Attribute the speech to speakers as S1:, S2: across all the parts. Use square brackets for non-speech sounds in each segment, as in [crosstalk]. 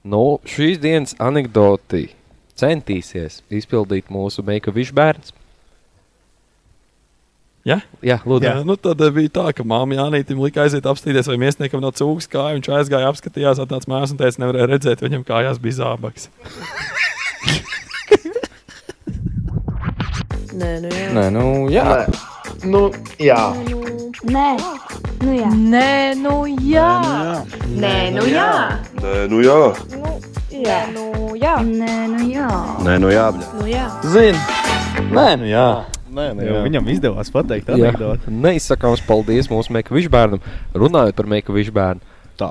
S1: Nu, šīs dienas anekdoti centīsies izpildīt mūsu Meikavičs bērns.
S2: Ja?
S1: Jā, lūdzu.
S2: Jā, nu tad eh, bija tā, ka māmiņa Jānītam lika aiziet apskatīties, vai māksliniekam no cūkas kāja. Viņš aizgāja, apskatījās, atnāca mājās un teica, nevarēja redzēt, viņam kājās bija zābaks.
S3: Nē, nu jā.
S4: Nē, nu, jā.
S5: Nu, jā.
S6: Nē, nu jā.
S7: Nē, nu jā.
S3: Nē, nu jā.
S8: Eh,
S9: Nē, nu jā,
S3: Jā, nu jā.
S6: Nē, nu jā.
S9: Nē, nu jā.
S3: Nu jā.
S4: Zini. Nē, nu, jā.
S10: Nē, nu,
S2: Jā.
S10: viņam izdevās pateikt
S1: Jā.
S10: anekdoti.
S1: Neizsakāms paldies mūsu Meikavičs bērnam. Runājot par Meikavičs bērnu,
S10: Tā.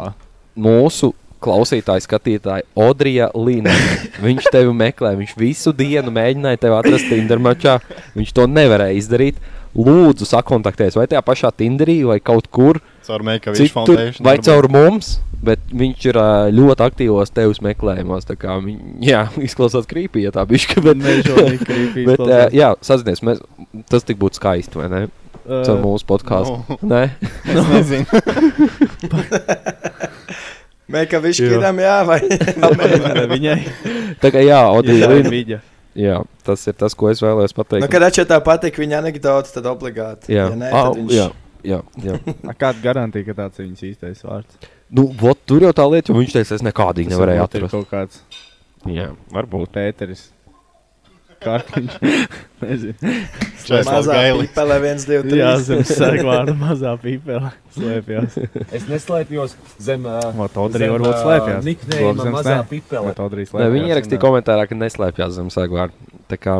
S1: mūsu klausītāja, skatītāja Odrija Līna. Viņš tevi meklē, viņš visu dienu mēģināja tevi atrast Tindermačā. Viņš to nevarēja izdarīt. Lūdzu, sakontaktējies vai tajā pašā Tinderī vai kaut kur.
S10: Caur Meikaviču
S1: citur,
S10: Foundation.
S1: vai
S10: varbūt.
S1: caur mums, bet viņš ir ā, ļoti aktīvos tevis meklējumos. tā kā viņ- Jā, [laughs] izklausās krīpīgi, ja tā bija. Bet, [laughs]
S10: Nežēlīgi creepy
S1: bet ā,
S10: izklausās.
S1: jā, sazinies, mēs, tas tik būtu skaisti, vai ne?
S10: Ā,
S1: Caur mūsu podkāstu. [laughs]
S10: nu,
S1: Nē,
S10: es nezinu.
S4: Meikavičs kidam, jā, vai?
S10: Viņai
S1: tā kā
S10: [laughs]
S1: jā,
S10: ir
S1: Odīna.
S10: viņa.
S1: Jā, tas ir tas, ko es vēlējos pateikt.
S4: Nu, kad atšķirtā patīk viņa anekdote, tad obligāti.
S1: jā,
S4: Ja nē,
S1: Ā,
S4: tad viņš...
S1: jā, jā, jā.
S10: [laughs] Kāda garantija, ka tāds ir viņas īstais vārds?
S1: Nu, vot, tur jau tā lieta, jo viņš teica, es nekādīgi
S10: Tas
S1: nevarēju
S10: varbūt ir
S1: atrast.
S10: Kaut kāds
S1: Jā, varbūt.
S10: Pēteris.
S1: [laughs]
S10: Kārtiņš. Nezinu.
S4: Mazā pīpele 1, 2, 3.
S10: Jā, zem sargvārda mazā pīpēlē
S1: [laughs]
S10: slēpjas.
S11: Es neslēpjos zem uh,
S10: Vat Odrija varbūt slēpjas.
S11: Niknējuma
S10: Lobzens
S11: mazā
S10: nē.
S11: pipele.
S10: Vat Odrija
S1: Nē,
S10: slēpjas.
S1: viņi ierakstīja komentārā, ka neslēpjas zem sagvārda. Tā kā,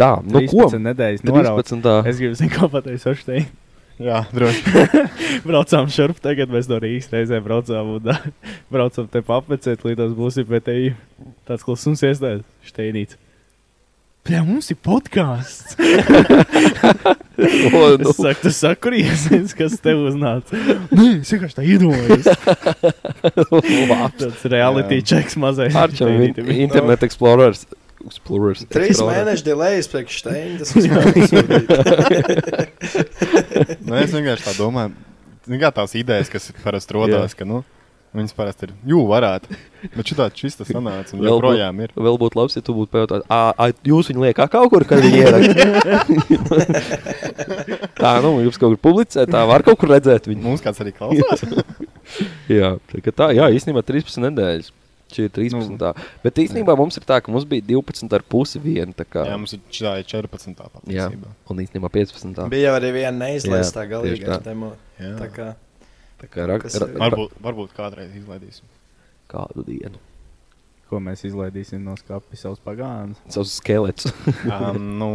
S1: tā, nu ko?
S10: 13 nedēļas noraut.
S1: 13.
S10: Es gribu zināt, [laughs] ko pateiks Oštei. Jā, droši. braucām šurp, tagad mēs no Rīgas reizē braucām un ā, [laughs] braucam te papacēt, līdz tas būs IPTI. Tāds klusums iestājas Šteinīts. Jā, mums ir
S1: [laughs]
S10: podkāsts.
S1: Nu. O, nu.
S10: Es saku, tu saki, kur iesies, kas tev uznāca. Nē, es vienkārši tā iedomājos. [laughs]
S1: [laughs]
S10: Tas reality checks mazais.
S1: Arčam, in,
S10: Šteinītim.
S1: Internet Explorers. Explorers.
S4: 3
S1: Explorer.
S4: mēnešu delays priekš Steina.
S1: [laughs]
S4: Tas ir absurdi.
S12: Nu, es vienkārši tā domāju, Zini, kā tās idejas, kas parasti rodas, ka nu, viņas parasti ir. Jū, varētu. Bet šitā šis tas sanāca un
S1: Vēl bū-
S12: joprojām ir.
S1: Vēl būtu labi, ja tu būtu pajautājis, ah, jūs viņu liekat kaut kur, kad viņi ieraksta.
S12: [laughs]
S1: tā, nu, jums kaut kur publicē, tā var kaut kur redzēt viņu.
S12: Mums kāds arī
S1: [laughs]
S12: klausās.
S1: Jā, tā, kā tā jā, īstenībā 13 nedēļas. Šī ir 13. Nu. Bet īstenībā mums ir tā, ka mums bija 12 ar pusi viena. tā kā.
S12: Jā, mums ir šitā ir 14.
S1: jā.
S12: patiesībā.
S1: Un īstenībā 15.
S4: Bija jau arī viena neizlaista
S1: Jā, tieši
S4: galīga
S1: tā.
S4: demo.
S12: Jā.
S4: Tā kā
S1: Tā kā rak,
S4: Kas ir?
S1: ra, ra,
S12: Varbūt, varbūt kādreiz izlaidīsim.
S1: kādu dienu.
S10: Ko mēs izlaidīsim no skāpja savus pagānus?
S1: Savs skelets.
S12: Um, nu,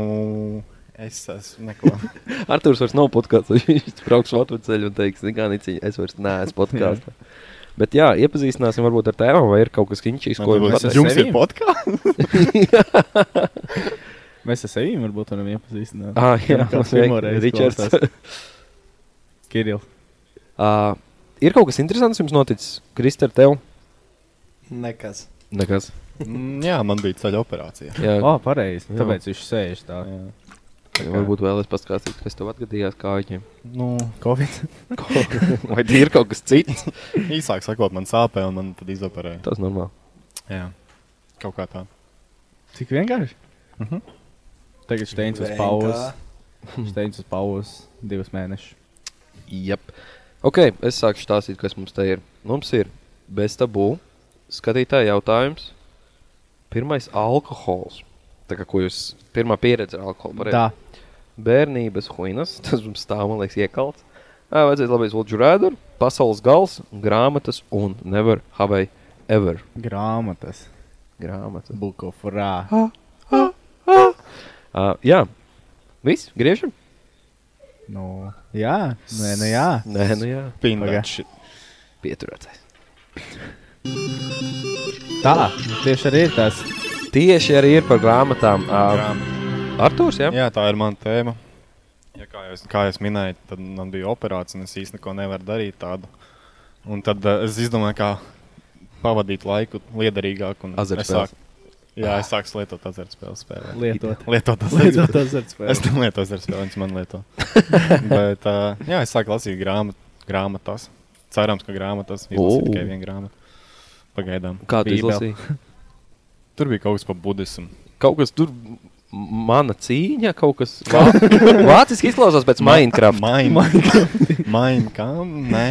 S12: es esmu neko.
S1: Arthurs vairs nav podkāsts. Viņš brauks uz atveļu un teiks, ka niciņ, es vairs
S10: [laughs]
S1: neesmu podkāstā. Bet jā, iepazīstināsim varbūt ar tēmu, vai ir kaut kas kinčīgs, ko
S12: Varbūt
S1: viņš
S12: tas jums ir
S10: sevīm?
S12: podkāsts.
S10: Mēs ar sevi varbūt varam iepazīstināt.
S1: Ah, jā,
S10: kāds
S1: sveiki,
S10: pirmo reizi
S1: Ričards. [laughs]
S10: klausās. Kirill.
S1: Uh, ir kaut kas interesants jums noticis, Kristē, ar tevi?
S4: nekas.
S1: Nekas.
S12: Mm, Jā, man bija ceļa operācija.
S1: Jā,
S10: O, oh, pareizi.
S1: Jā.
S10: Tāpēc viņš sēž tā.
S12: Jā.
S1: okay. varbūt vēl es paskatīšos, kas tev atgadījās kā
S10: [laughs]
S1: viņiem.
S12: Nu,
S10: Covid.
S1: Vai tie ir kaut kas
S10: [laughs]
S1: cits?
S12: [laughs] īsāk sakot, man sāpēja un man tad izoperēja.
S1: Tas normāli.
S12: Jā. Kaut kā tā. Mhm.
S10: Tik vienkārši. Tagad steins uz
S4: Vienkār-
S10: pauzes. Steins uz pauzes divus mēnešus.
S1: Yep. Ok, es sāku stāstīt, kas mums te ir. Mums ir bez tabū skatītāja jautājums. Pirmais - alkohols. Tā kā ko jūs pirmā pieredze ar alkoholu? pareizi?
S10: Tā.
S1: bērnības huīnas, [laughs] tas mums tā, man liekas, iekalts. Ā, Vajadzēja labais Lodžu rēduru, pasaules gals, grāmatas un never have I ever.
S10: Grāmatas.
S1: Grāmatas.
S10: Bukofrā.
S1: Uh, jā, viss, griežam.
S10: Nu, jā. Nē, nē, jā.
S1: Nē, nu jā,
S12: Pindāči.
S1: pieturēties.
S10: Tā. Tieši arī ir tas.
S1: Tieši arī ir par grāmatām. Uh,
S12: Grāmata.
S1: Artūrs, jā?
S12: Jā, tā ir mana tēma. Ja kā, jau, kā jau minēju, tad man bija operācija, un es īstenībā neko nevaru darīt tādu. Un tad uh, es izdomāju, kā pavadīt laiku liederīgāk. un es
S1: Azartspēles.
S12: sāku- Jā, es sāku lietot azartspēles spēlē.
S10: Lietot.
S12: [laughs] Lietot
S10: Lietot
S12: azartspēles. Es
S10: azartspēles.
S12: tam lietoju azartspēles, viņas man
S1: [laughs]
S12: lieto. Bet uh, jā, es sāku lasīt grāmat, grāmatas. Cerams, ka grāmatas ir
S1: Ooh.
S12: tikai viena grāmata. Pagaidām.
S1: Kā tu
S12: Bībeli.
S1: izlasīji?
S12: Tur bija kaut kas par budismu.
S1: Kaut kas tur, m- mana cīņa, kaut [laughs] kas. Vā- Vāciski izklausās pēc Minecraft.
S12: Minecraft. Nē,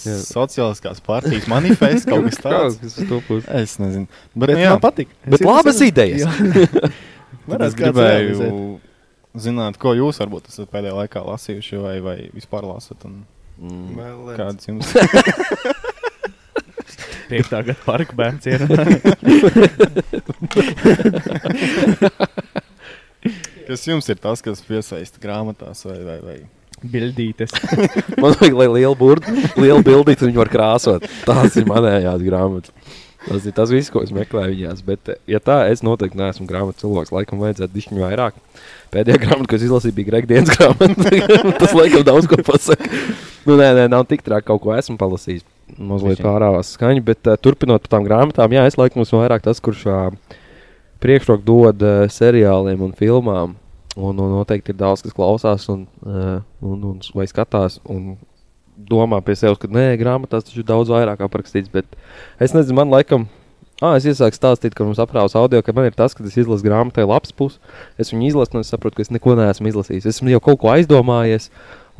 S1: Jā.
S12: sociālās partijas manifests kaut kas tāds.
S1: Kaut kas tu būs.
S12: Es nezinu.
S10: Bet
S12: Bet, nu,
S10: jā.
S12: jā,
S10: man patīk.
S1: Bet labas idejas.
S12: bet es gribēju zināt, ko jūs varbūt esat pēdējā laikā lasījuši vai, vai vispār lasat. un
S4: Vēl viens.
S12: Kādas jums
S10: [laughs] Piektā gada parka bērns ir.
S12: Kas jums ir tas, kas piesaista grāmatās, vai, vai, vai?
S10: Bildītes.
S1: [laughs] Man vajag, lai liela burda, liela bildīte viņu var krāsot. Tās ir manējās grāmatas. Tas ir tas viss, ko es meklēju viņās. Bet, eh, ja tā, es noteikti neesmu grāmatu cilvēks. Laikam vajadzētu dišķiņu vairāk. Pēdējā grāmata, ko es izlasīju, bija Gregdienas grāmata. [laughs] Tas laikam daudz ko pasaka. Nu, nē, nē, nav tik traki kaut ko esmu palasījis. Mazliet pārāvās skaņa, bet uh, turpinot par tām grāmatām, jā, es laikam esmu vairāk tas, kurš uh, priekšroku dod uh, seriāliem un filmām. Un, un noteikti ir daudz, kas klausās un, uh, un, un vai skatās. Un domā pie sevis, ka nē, grāmatās taču ir daudz vairāk aprakstīts. Bet es nezinu, man laikam. Ah, es iesāku stāstīt, ka mums aprāvis audio, ka man ir tas, ka es izlasu grāmatai lapas pusi. Es viņu izlasu, un es saprotu, ka es neko neesmu izlasījis. Esmu jau kaut ko aizdomājies,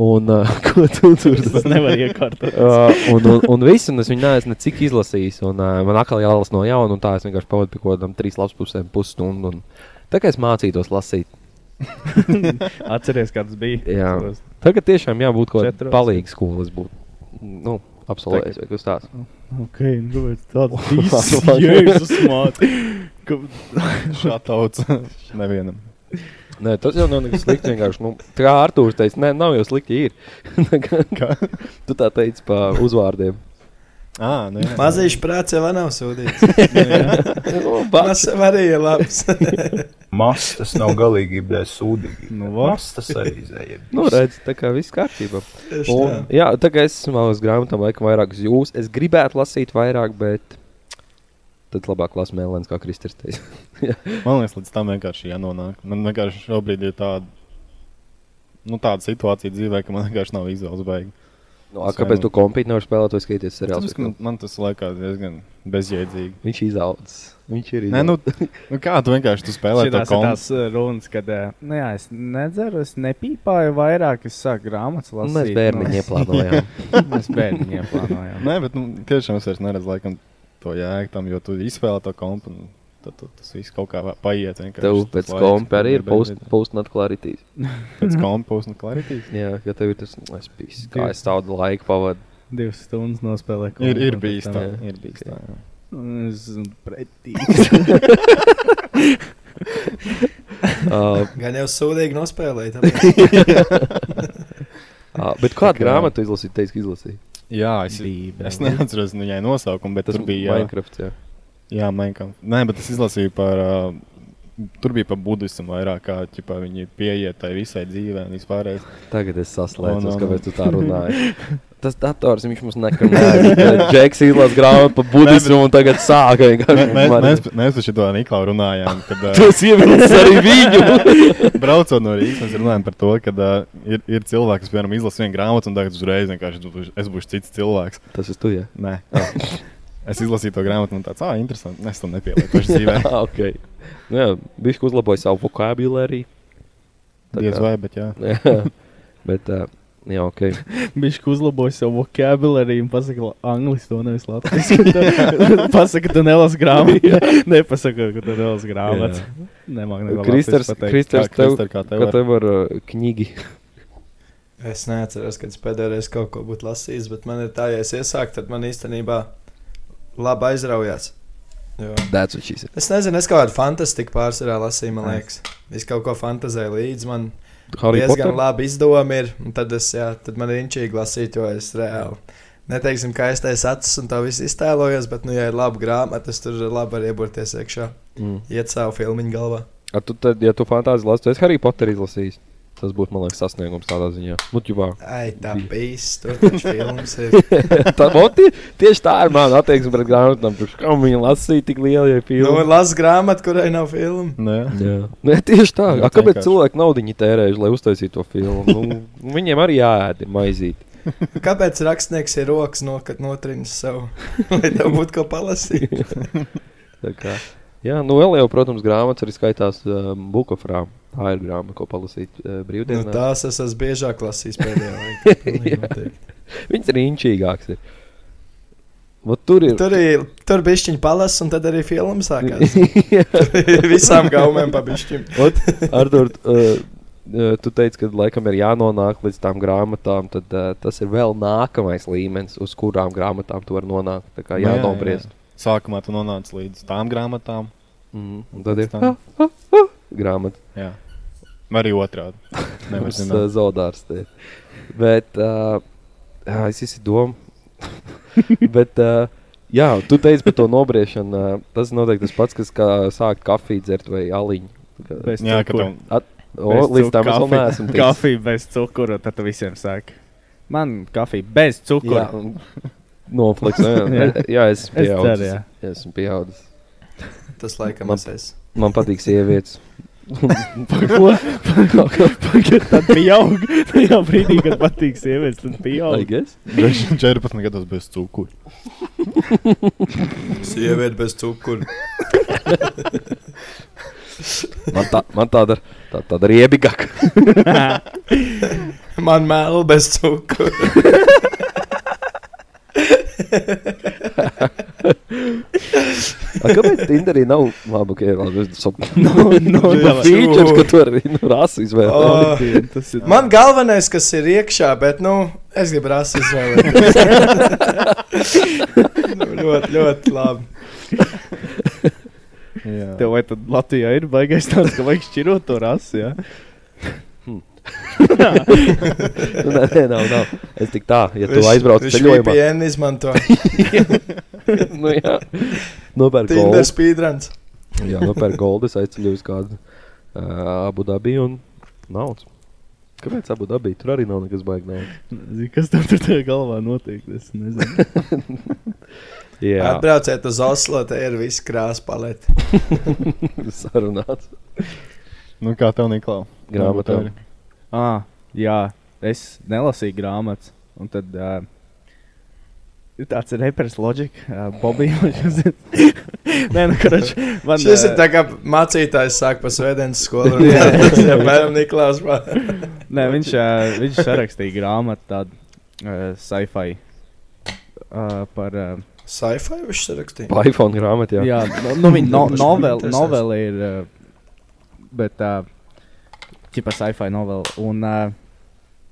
S1: un uh, [laughs] ko tu tur [laughs]
S10: Tas nevar iekārtot.
S1: Uh, un, un, un viss, un es viņu neesmu necik izlasījis. Un, uh, man atkal jālasa no jauna, un tā es vienkārši pavadu pie kaut kādām trīs lapuspusēm, pusstundu. Un... Tā kā es mācītos lasīt,
S10: Atceries, kāds bija.
S1: Jā.
S10: Atceros.
S1: tagad tiešām jābūt kaut kādam
S10: Četros.
S1: palīgam skolas būt. Nu, Absolūti, vai kas tāds -
S10: Ok, nu kāpēc tāds bija? Jēzus, māte. Ka-
S12: [laughs] Šā tauts nevienam.
S1: Nē, tas jau nav nekas slikts. Vienkārši, nu, [laughs] tā kā Artūrs teica, nē, nav jau slikti. Ir. [laughs] Kā? tu tā teici par [laughs] uzvārdiem.
S12: Ā, nu jā.
S4: Mazīši prāts jau nav sūdīts.
S1: Nu,
S4: Tas arī ir labs. [laughs]
S5: Mas tas nav galīgi ibdēs sūdīgi.
S12: Nu, va.
S5: Mas tas arī izēja.
S1: Nu, redz, tā kā viss kārtībā.
S4: Tieši
S1: Un,
S4: tā.
S1: jā, tagad es esmu uz grāmatām, laikam, vairāk uz jums. Es gribētu lasīt vairāk, bet tad labāk lasu mēlēns, kā Kristers [laughs] teica.
S12: Man liekas, līdz tam vienkārši jānonāk. Man vienkārši šobrīd ir tāda, nu, tāda situācija dzīvē, ka man vienkārši nav izvēles beigas.
S1: No, Nu, a, kāpēc tu kompīti nevar spēlēt vai skatīties seriālus?
S12: Tas, man, man tas liekas diezgan bezjēdzīgi.
S1: Viņš izaudzis. Viņš ir
S12: Nē, nu, nu kā tu vienkārši tu spēlē to
S10: Šitās ir
S12: kontu?
S10: tās uh, runas, kad eh, nu, jā, es nedzeru, es nepīpāju vairāk, es sāku grāmatas lasīt.
S1: Nu, Mēs bērniņu
S12: nu. [laughs]
S1: ieplānojām.
S10: Mēs bērniņu ieplānojām.
S12: Nē, bet nu, tiešām es vairs neredzu laikam, to jēgu tam, jo tu izspēlē to kontu. un Tad tu, tas viss kaut kā paiet. vienkārši
S1: Tev
S12: tas
S1: pēc
S12: laiks,
S1: kompa arī ir
S12: bet-
S1: post- postnat klaritīts.
S12: Pēc kompa posma
S1: [laughs]
S12: klaritītes.
S1: Jā, ja tev ir tas, nu, es biju, kā es tādu laiku pavadu.
S10: Divas stundas nospēlēju.
S12: Ir, ir
S10: kontu,
S12: bijis
S10: tad
S12: tā.
S10: tam-
S12: Ir bijis tā jā.
S10: Nu, Es esmu
S12: [laughs]
S10: pretīgs.
S1: Uh,
S4: Gan jau sūdīgi nospēlēji. tāpēc.
S1: uh, [laughs] bet kādu
S12: kā-
S1: grāmatu izlasīt, teiks, izlasīt?
S12: jā, es,
S10: Bībele.
S12: es neatceros nu, viņai nosaukumu, bet
S1: Tas
S12: tas bija jā,
S1: Minecraft, jā.
S12: jā Minecraft. Nē, bet es izlasīju par, uh, tur bija par budismu vairāk, kā ķipā, viņi pieiet tai visai dzīvē un
S1: [laughs]
S12: vispārējais.
S1: Tagad es
S12: O, no,
S1: saslēdzos,
S12: no.
S1: kāpēc tu tā runāji. [laughs] Tas dators viņš mums nekad [laughs] nav. Džeks Illas grāmata par budismu un tagad sāka
S12: Mē,
S1: vienkārši.
S12: mēs,
S1: mani-
S12: mēs, mēs par šo Niklau runājām, kad
S1: [laughs]
S12: [laughs] uh,
S1: Tu esi ievilcis arī viņu.
S12: [laughs] Braucot no Rīgas, mēs runājam par to, ka uh, ir, ir cilvēks, kas piemēram izlasa vienu grāmatu, un tagad uzreiz vienkārši tu būš- es būšu cits cilvēks.
S1: Tas ir [laughs] tu, jā.
S12: Nē, [laughs] es izlasīju to grāmatu, un tāds - ah, interesanti. Es tam nepielietošu
S1: [laughs]
S12: dzīvē.
S1: ok. Nu, jā, viņš uzlaboja savu vokabulāriju. Tā
S12: Diez
S1: kā-
S12: vai, bet jā.
S1: [laughs] Jā, Bet, uh, jā, ok.
S10: Viņš uzlaboja savu vokabulāriju un pasaka, la- angliski to nevis latviešu.
S1: [laughs]
S10: pasaka, ka tu nelasi grāmatu. Nepasaka, ka tu nelasi grāmatu. Nemāk neko
S1: Kristers,
S10: latviešu pateikt.
S1: Kristers,
S12: Kā,
S1: tev,
S12: Krister, kā tev
S1: kā
S12: ar-
S1: tev ar uh, knīgi.
S4: Es neatceros, kad es pēdējoreiz kaut ko būtu lasījis, bet man ir tā, ja es iesāku, tad man īstenībā labi aizraujās. Jo.
S1: That's what she said.
S4: Es nezinu, es kaut kādu fantastiku pārsvarā lasīju, man liekas. Es kaut ko fantāzēju līdzi. Man
S1: Harry
S4: diezgan
S1: Potter.
S4: labi izdomi ir. un Tad, es, jā, tad man ir inčīgi lasīt, jo es reāli. Neteiksim, ka es taisu acis un tā viss iztēlojos, bet, nu, ja ir laba grāmata, tad tur labi var ieburties iekšā.
S1: Mm.
S4: Iet savu filmu galvā.
S1: A, tu tad, ja tu fantāzi lasi, tu esi Harry Potter izlasījis. Tas būtu, man liekas, sasniegums tādā ziņā. Nu, ķivā.
S4: Ai, tā bijis. Tur
S1: [laughs]
S4: taču films ir.
S1: tā, moti, tieši tā ir mana attieksme pret grāmatām. Pirms kā viņi lasīja tik lielu
S4: Nu,
S1: filmu?
S4: lasu grāmatu, kurai nav filmu.
S1: Nu
S12: Nē.
S1: Nē, tieši tā.
S12: Nu,
S1: A, kāpēc [laughs]
S12: vienkārši.
S1: cilvēki naudu tērējuši, lai uztaisītu to filmu? Nu, viņiem arī jāēd maizīt.
S4: Kāpēc rakstnieks ir rokas nokat notrinis sev? [laughs] Lai tev būtu ko palasīt.
S1: [laughs] Tā kā, jā, nu vēl jau, protams, grāmatas arī skaitās uh, Bukofrā. Tā ir grāmata, ko palasīt uh,
S4: Nu,
S1: brīvdienās.
S4: tās es esmu biežāk lasījis pēdējā
S1: [laughs]
S4: laikā. pilnīgi noteikti.
S1: Viņš ir inčīgāks. Ir. Vat tur ir.
S4: Tur ir tur bija pišķiņa palas, un tad arī
S1: [laughs]
S4: filmas sākās. Visām gaumēm pabeigšķim.
S1: Artur, tu teici, ka laikam ir jānonāk līdz tām grāmatām, tad uh, tas ir vēl nākamais līmenis, uz kurām grāmatām tu vari nonākt. Tā kā
S12: Nu, jā,
S1: jānobriest.
S12: jā. Sākumā tu nonāc līdz tām grāmatām.
S1: [laughs] Mm, un
S12: pēc
S1: tad ir
S12: tam-
S1: [laughs] grāmata.
S12: Jā. Vai Arī
S1: [laughs]
S12: otrādi. Nevar
S1: Mums,
S12: zināt.
S1: ā, Zaudārs. te ir. Bet uh, jā, es esmu doma. [laughs] Bet, uh, jā, tu teici par to nobriešanu. Uh, tas noteikti tas pats, kas kā sākt kafiju dzert vai aliņu. Ka-
S10: Bez Jā, ka cukura.
S1: At, o, līdz tam es vēl
S12: [laughs]
S1: neesmu. ticis.
S10: Kafija bez cukura, tad tu visiem saki. Man kafija bez cukura.
S1: Jā, un Nofliks.
S12: [laughs]
S1: Jā, jā. jā es esmu
S10: Es
S1: pieaudzis.
S10: ceru, jā.
S1: jā. Esmu pieaudzis.
S4: Tas laikam
S1: Man-
S4: es esmu.
S1: Man patīk sievietes. [laughs]
S10: Ko? Pagaid, Tad pieaug. [laughs] Tajā brīdī, kad patīk sievietes, tad
S1: I
S10: pieaug.
S1: guess.
S12: Droši [laughs] vien 14 gados bez cukuru.
S4: Sieviete bez cukura.
S1: Man, tā, man tāda, tā, tāda riebīgāka.
S4: [laughs] Man mēlu bez cukura.
S1: [laughs] A Kāpēc Tinderī nav labi? Okay, labi es saprotu,
S10: no,
S1: [laughs] no, features, ka tu arī nu, [laughs] rasu izvēlējies.
S4: O,
S10: Tas ir
S4: Man galvenais, kas ir iekšā, bet nu, es gribu rasu izvēlēties. [laughs] nu, ļoti, ļoti labi.
S12: Jā.
S10: Tev vai tad Latvijā ir baigais tāds, ka vajag šķirot to rasi, jā?
S1: Nu, Nē, nē, nav, nav. Es tik tā, ja tu
S4: Viņš-
S1: aizbrauc
S4: viņš
S1: ceļojumā,
S4: VPN
S1: [laughs]
S4: izmanto.
S1: tad [laughs] nu, jā. nopērk
S4: Tinder
S1: goldu.
S4: speedruns.
S1: Jā, nopērk goldu, es aizceļoju uz kādu uh, Abu Dabī un naudas. Kāpēc Abu Dabī? Tur arī nav nekas baigts naudas.
S10: Zini, kas tev tur tajā galvā notiek? Es nezinu.
S1: Jā,
S4: Atbrauciet uz Oslo, te ir viss krāsa palete.
S1: sarunāts.
S12: Nu, kā tev Nu, neklāja?
S1: Grāmatā.
S10: Ā, jā, es nelasīju grāmatas. Un tad ā, ir tāds reperis loģika, [laughs] Bobijs. Nē, nu, kurš man
S4: Šis
S10: ā,
S4: ir tā kā mācītājs sāk pa svētdienas skolu. Jā, tas ir apmēram Niklaus.
S10: Nē, viņš, uh, viņš sarakstīja grāmatu tādu uh, sci-fi. Uh, par uh,
S4: Sci-fi viņš sarakstīja.
S1: Pa iPhone grāmatā.
S10: jā.
S1: Jā,
S10: Jā, no, nu, viņa no,
S4: Droši vien
S10: novel,
S4: interesēs.
S10: novela ir. Uh, bet, uh, tipā sci-fi novela. Un, uh,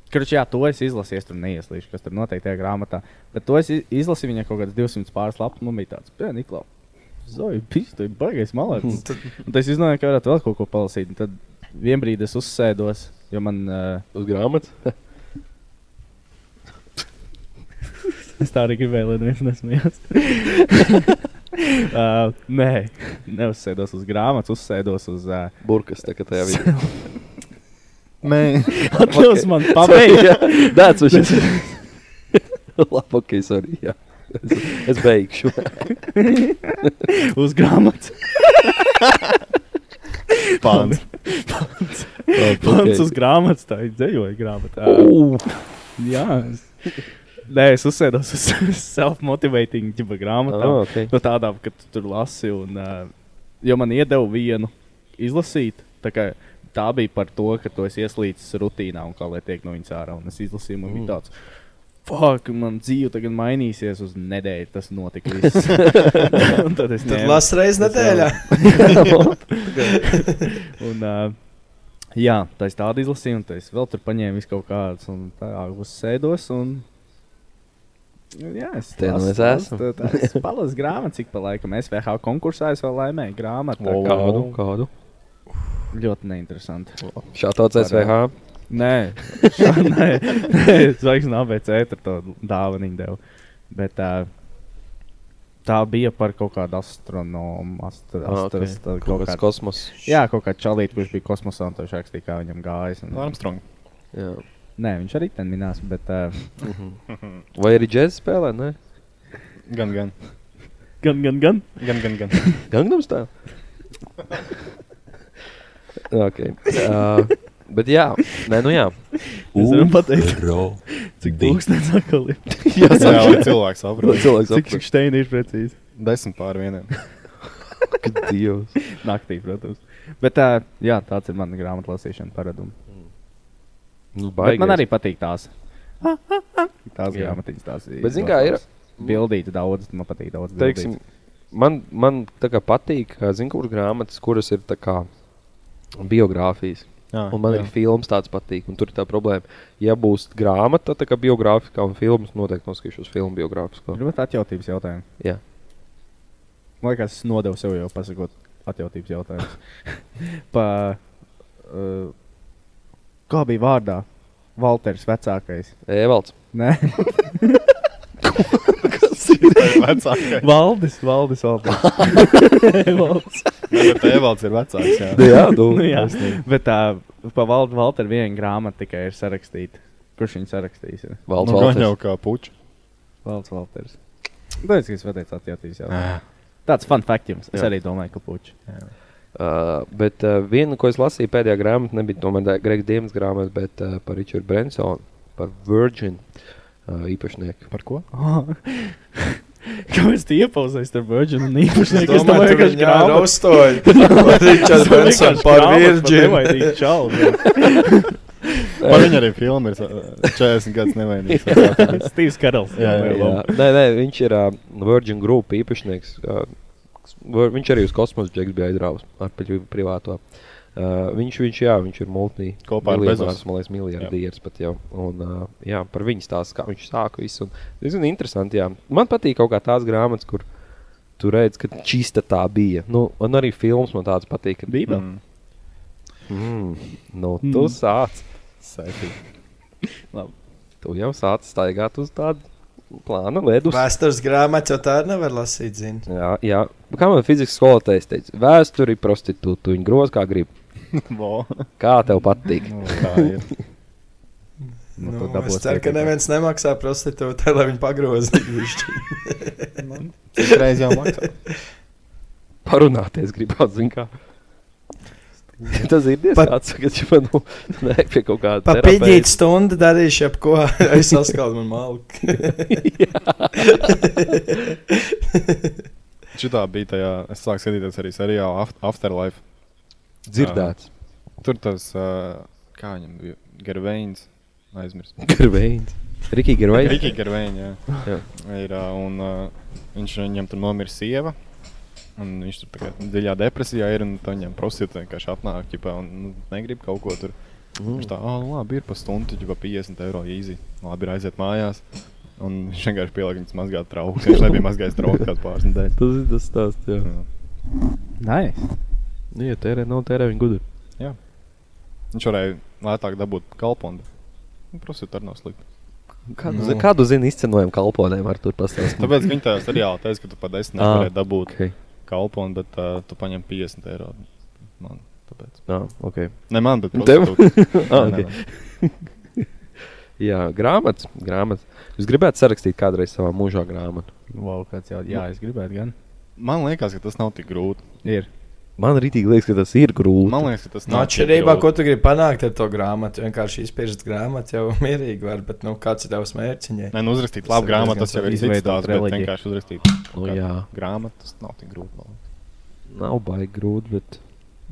S10: Kurš jā, to es izlasīju, es tur neieslīšu, kas tur noteikti tajā grāmatā. Bet to es i- izlasīju viņa kaut kādas 200 pāris lapas, un man bija tāds, pēkšņi, Niklaus, Zoja, pīsti, baigais malēcis. Un [laughs] tad es izdomāju, ka varētu vēl kaut ko palasīt. Un tad vienbrīd es uzsēdos, jo man. Uh,
S1: uz grāmatas.
S10: Es tā arī gribēju, lai neviens nesmējās. [laughs] uh, nē, neuzsēdos uz grāmatas, uzsēdos uz. Uh,
S1: Burkas tā kā
S10: [laughs]
S1: tajā vidē.
S12: Nē,
S10: Atļaus
S1: [laughs]
S10: man pabeigt!
S1: Dāc,
S10: [laughs]
S1: viņš ir. [laughs] Labi, ok, sorry. Jā. Es, es beigšu.
S10: uz grāmatas.
S12: pāns.
S10: [laughs] Pants
S1: Pants
S10: okay. uz grāmatas, tā ir dzējoja grāmatā. Jā, es... Nē, es uzsēdos uz self-motivating ģiba grāmatā.
S1: Oh, okay.
S10: No tādām, ka tu tur lasi, un uh, jo man iedeva vienu izlasīt. Tā, kā, tā bija par to, ka tu esi ieslīdis rutīnā un kā lai tiek no viņas ārā. Un es izlasīju, man mm. bija tāds, fuck, man dzīve tagad mainīsies uz nedēļu. Tas notika viss. un tad es
S4: Tad
S10: ņēmu-
S4: lasu reizi nedēļā.
S10: un, uh, jā, tā es tādu izlasīju, un tā es vēl tur paņēmu visu kaut kādas, un tā uzsēdos. Un... Jā, es
S1: Te nu
S10: lasu-
S1: mēs esam.
S10: lasu- tā- tā- Es palasu grāmatu, cik pa laikam SVH konkursā es vēl laimēju grāmatu. tā kā-
S1: Kādu? Kādu?
S10: Ļoti neinteresanti.
S1: Šāds SVH.
S10: Nē, šā- [laughs] nē, nē zvaigznes ABC tur to dāvanu deva. Bet tā, tā bija par kaut kādu astronomu, astro,
S1: Ah,
S10: astro,
S1: ok.
S10: astro,
S1: Kaut kāds
S10: kādu,
S1: kosmos.
S10: jā, kaut kādu čalīti, kurš bija kosmosā un tur rakstīja, kā viņam gājas. Un,
S12: Armstrong.
S1: Jā.
S10: nē, viņš arī ten minās, bet uh,
S1: Vai arī džēzus spēlē? Ne?
S12: Gan,
S1: [laughs]
S12: gan.
S10: [laughs] gan, gan, gan.
S12: Gan, gan,
S10: [laughs]
S12: gan.
S1: Gangnam stāv. okay. uh, Bet jā, nē, nu jā.
S10: Es varu pateikt, cik pulkstenis atkal ir. Jā,
S12: jā, lai cilvēks saprot.
S1: Lai cilvēks
S10: Cik,
S1: saprot.
S10: cik šteini ir precīzi?
S12: Desmit pār vienam.
S1: Dievs.
S10: Naktī, protams. Bet tā, jā, tāds ir mana grāmatlasīšana paradums.
S1: Nu,
S10: Bet man
S1: baigais.
S10: arī patīk [laughs] tās. Tās
S1: Jā.
S10: grāmatiņas, tās
S1: Bet, zini, kā ir-
S10: Bildīti daudz, man patīk daudz.
S1: teiksim,
S10: bildītes.
S1: man, man tā kā patīk, zinu, kuras grāmatas, kuras ir tā kā biogrāfijas.
S12: Jā,
S1: un man
S12: Ah, jā. [laughs]
S1: jā. ir filmas tāds patīk, un tur ir tā problēma. Ja būs grāmata, tā kā biogrāfiskā un filmas, noteikti noskatīšos filmu biogrāfiskā.
S10: Gribat atjautības jautājumu?
S1: Jā.
S10: Man liekas, es nodevu sev jau pasakot atjautības
S1: [laughs]
S10: jautājumu. pa, uh, kā bija vārdā? Valters vecākais.
S1: Evalds.
S10: Nē.
S12: Kas ir vecākais?
S10: Valdis, Valdis, Valdis. Valds.
S12: Jā, bet Evalds ir vecāks,
S1: [laughs]
S12: jā.
S1: Jā, nu,
S10: nu, jā.
S12: taisnība.
S10: Bet tā, pa Valdu Valteru viena grāmata tikai ir sarakstīta. Kurš viņu sarakstīs? ir?
S1: Valds,
S12: Nu, gan jau
S1: Valds.
S12: kā
S1: [laughs]
S12: puča.
S10: Valds Valters. Tāpēc, ka es pateicu atjautības jautājumu.
S12: Jā.
S10: Tāds fun fact jums. Es
S1: Jā.
S10: arī domāju, ka [laughs] puči.
S1: Uh, bet uh, viena, ko es lasīju pēdējā grāmatā, nebija tomēr tā Gregs Dienas grāmata, bet uh, par Richardu Bransonu, par Virgin uh, īpašnieku.
S12: Par ko?
S10: Kāpēc tu iepauzējies ar Virgin un īpašnieku?
S4: Es domāju, ka viņi ir [laughs] raustoļi. Ričards Benson par Virģinu.
S10: Čau,
S12: Par viņu arī filma ir sa- 40 gadus
S1: [laughs]
S12: nevainīgs.
S10: Steve's Karls.
S12: Jā, jā,
S1: Jā. Nē, nē, viņš ir uh, Virgin Group īpašnieks. Uh, Vir- viņš arī uz kosmosa džeksa bija aizrāvis ar pri- privāto. Uh, viņš, viņš, jā, viņš ir multi.
S12: Kopā ar
S1: miljonārs,
S12: Bezosu.
S1: man liekas, miljardieris pat jau. Un, uh, jā, par viņu stāsta, kā viņš sāka visu. un Diezgan interesanti. Jā. Man patīk kaut kā tās grāmatas, kur tu redz, ka čista tā bija. Nu, un arī filmas man tādas patīk. Ka,
S10: Bībeli.
S12: Mm.
S1: mm, nu, tu mm. sāc.
S10: Labi.
S1: Tu jau sāc staigāt uz tādu plānu ledus.
S4: Vēstures grāmatas jau tā nevar lasīt, zini.
S1: Jā, jā. kā man fizikas skolotājs teica, vēsture ir prostitūta. Viņa groz kā grib.
S12: Vo.
S1: Kā tev patīk?
S12: Nu, tā ir.
S1: Nu,
S4: Nu,
S1: tu dabūsi
S4: es ceru, ka
S1: tikai-
S4: neviens nemaksā prostitūtai, lai viņu pagrozītu.
S12: Citreiz jau maksā.
S1: Parunāties gribētu, zin kā. Tas ir
S4: Pat-
S1: diezgan tāds, ka man nu, [laughs] nē, pie kaut kāda
S4: Papildīt stundu darīšu, ja ko [laughs] es saskaldu man malku.
S12: Šitā bija tajā, es sāku skatīties arī seriālu Aft- Afterlife.
S1: dzirdēts.
S12: Tur tas, uh, kā viņam bija, Gerveins, aizmirst.
S1: Gerveins. Rikī Gerveins.
S12: Rikija Gerveina. Jā. Ir, uh, un, uh, viņš viņam tur nomira sieva. Un viņš tur tā kā dziļā depresijā ir. Un tā viņam prostitūta vienkārši atnāk, ķipā, un nu, negrib kaut ko tur. Mm. Viņš tā, ah, nu, labi, ir pa stundu, jau 50 eiro īsi. Labi, ir aiziet mājās. Un viņš vienkārši pielika viņas mazgāt traukus. Viņš nebija mazgājis traukus kādu pāris nedēļas.
S1: Tas ir tas stāsts, jā.
S12: Jā.
S10: Nē,
S1: Nu, ja tērē, nav tērē viņa gudri.
S12: Viņš varēja lētāk dabūt kalponu. Nu, Prostitūta arī nav slikta.
S1: Kādu, zi, kādu zini izcenojumu kalponēm var tur [laughs] pastāstīt?
S12: Tāpēc ka viņi tajā seriālā teica, ka tu pat
S1: Ā,
S12: 10 eiro varēji dabūt
S1: Okay.
S12: kalponu, bet uh, tu paņem 50 eiro. Man, tāpēc.
S1: Jā, ok.
S12: Ne man, bet
S1: Nu,
S12: tev.
S1: [laughs] Ah, ok. Jā, grāmatas, grāmatas. Es gribētu sarakstīt kādreiz savā mūžā grāmatu.
S10: wow, kāds jau. Jā, es gribētu gan.
S12: Man liekas, ka tas nav tik grūti.
S10: Ir.
S1: Man rītīgi liekas, ka tas ir grūti.
S12: Man liekas, ka tas
S4: No
S12: nav tik
S4: Nu, atšķirībā, ko
S12: grūti.
S4: tu gribi panākt ar to grāmatu, vienkārši izpirkt grāmatu jau [laughs] mierīgi var, bet nu, kāds ir tavs mērķis?
S12: Nē, nu, uzrakstīt
S4: Tas
S12: labu
S4: ir
S12: grāmatu,
S4: diezgan Oh,
S12: tas jau ir
S10: izveidot
S12: cits tās, bet
S10: reliģiju.
S12: vienkārši uzrakstīt
S1: Nu, jā.
S12: grāmatu, tas nav tik grūti. man liekas.
S1: nav baigi grūti. Bet...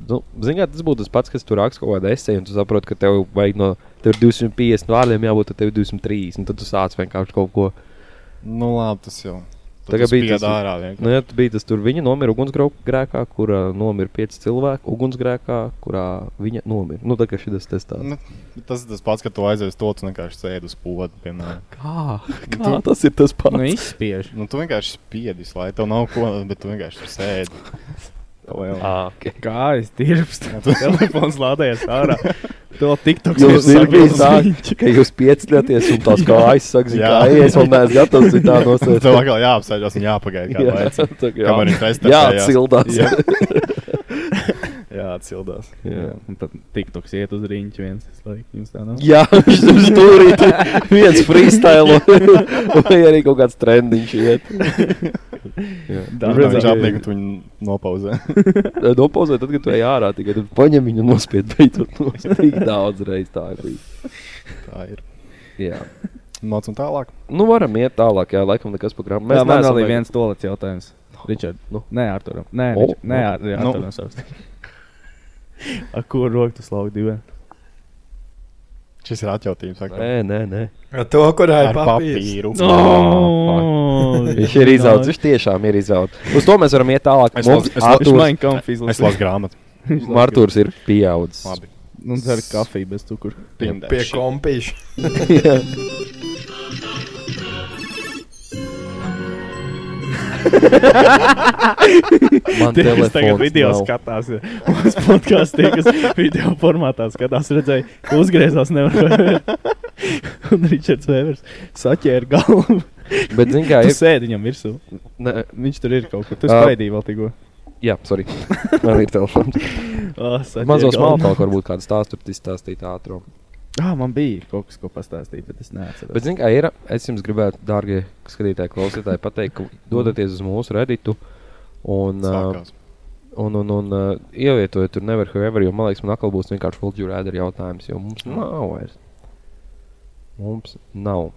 S1: Nu, Ziniet, tas būtu tas pats, kas tur raksta kaut kādā esejā, un tu saproti, ka tev vajag no tev ir 250 vārdiem, jābūt tad tev 230. un Tad tu sāc vienkārši kaut ko.
S12: Nu, labi, tas jau.
S1: Tagad
S12: Tagad
S1: bija
S12: bija
S1: tas-
S12: dārā
S1: Nu,
S12: vienkārši.
S1: jā, bija tas tur viņa nomira ugunsgrēkā, kurā nomira pieci cilvēki. Ugunsgrēkā, kurā viņa nomira. Nu, tā kā šis tas tāds.
S12: Nu, tas ir tas pats, ka tu aizies to, tu vienkārši sēdi uz poda, piemēram.
S1: [laughs] Kā? Kā tas ir tas
S10: Nu,
S1: pats?
S12: [laughs]
S10: izspiež.
S12: Nu, tu vienkārši spiedis, lai tev nav ko, bet tu vienkārši tur sēdi.
S4: [laughs]
S12: Tev vēl-
S1: Ah, okay.
S10: Kā es [laughs] dirpstu? Telefons lādējas ārā. To tiktoks
S1: Jums ir bijis tā,
S10: sagrozījis.
S1: ka jūs piecināties un tās [laughs] kājas sāk
S12: Jā.
S1: zināt, ka es vēl neesmu gatavs
S12: [laughs]
S1: citā
S12: Tev
S1: nosēst.
S12: atkal jāapsēžas un
S1: [laughs]
S12: jāpagaida kādu laiku. kamēr viņš
S1: jā,
S12: aiztepējās.
S1: jā, cildās.
S12: Jā.
S4: [laughs]
S12: Jā, atsildās.
S1: Jā.
S10: [laughs] Un tad tiktoks iet uz riņķi viens. Es laiku jums tā nav.
S1: Jā, viņš tur
S10: [laughs]
S1: stūrīt viens freestyle vai arī kaut kāds trendiņš iet.
S12: Tā ir bijusi apniekta, ka viņi
S4: [laughs]
S12: nopauzē.
S1: Nopauzē, tad, kad tu ej ārā, tikai tad paņem viņu un nospied beidzot. nos. Tik daudz reizes tā ir bijis.
S12: Tā ir.
S1: Jā.
S12: Mācām tālāk.
S1: Nu, varam iet tālāk, jā, laikam nekas par grāmatu.
S10: Mēs man vēl ir viens tolets jautājums. Ričard, nu. nē, Arturam. Nē,
S1: O,
S10: oh, nē,
S1: nu.
S10: ar, jā,
S1: Nu.
S10: Arturam savs. Ar ko roku tu slauki diviem?
S12: Šis ir atjautījums. saka.
S1: Nē, nē, nē.
S4: Ar to, kurā ir
S12: Ar
S4: papīrs. Nu,
S12: papīru.
S1: Oh, Ah, viņš ir izaugs. Viņš tiešām ir izaugs. Uz to mēs varam iet tālāk.
S12: Es lasu- es lasu-
S10: Viņš man kampā
S12: Es lasu grāmatu.
S1: Martūrs ir pieaudzis.
S12: Labi.
S10: Un Nu, dzer kafiju bez cukuru.
S12: Pirmdien.
S4: Pie kompīša.
S1: Jā. Man
S10: Tie, kas tagad
S1: telefons
S10: video
S1: nav.
S10: skatās, ja. mūsu podkāstā tie, kas video formātā skatās, redzēja, ka uzgriezās nevar. [laughs] un Ričards Vēvers saķēra
S1: [laughs]
S10: galvu.
S1: Bet, zini, kā
S10: Tu
S1: ir.
S10: sēdi viņam virsū.
S1: Ne,
S10: Viņš tur ir kaut kur. Tu
S1: Ā.
S10: skraidīji vēl tikko.
S1: jā,
S10: [laughs]
S1: sorry. Man ir telefons.
S10: Ā, saķēri
S1: Mazos
S10: galvu.
S1: maltos varbūt kāds stāsts tur izstāstīt ātrāk.
S10: [laughs] Ā, man bija kaut kas, ko pastāstīt, bet es neatceros.
S1: Bet, zini, kā ir. Es jums gribētu, dārgie skatītāji, klausītāji, pateikt, ka dodaties uz mūsu redītu. Un, uh,
S12: Sākās.
S1: un, un, un uh, ievietojiet tur never however, jo man liekas, man atkal būs vienkārši Fulģu rēdera jautājums, jo mums nav vairs. Mums nav.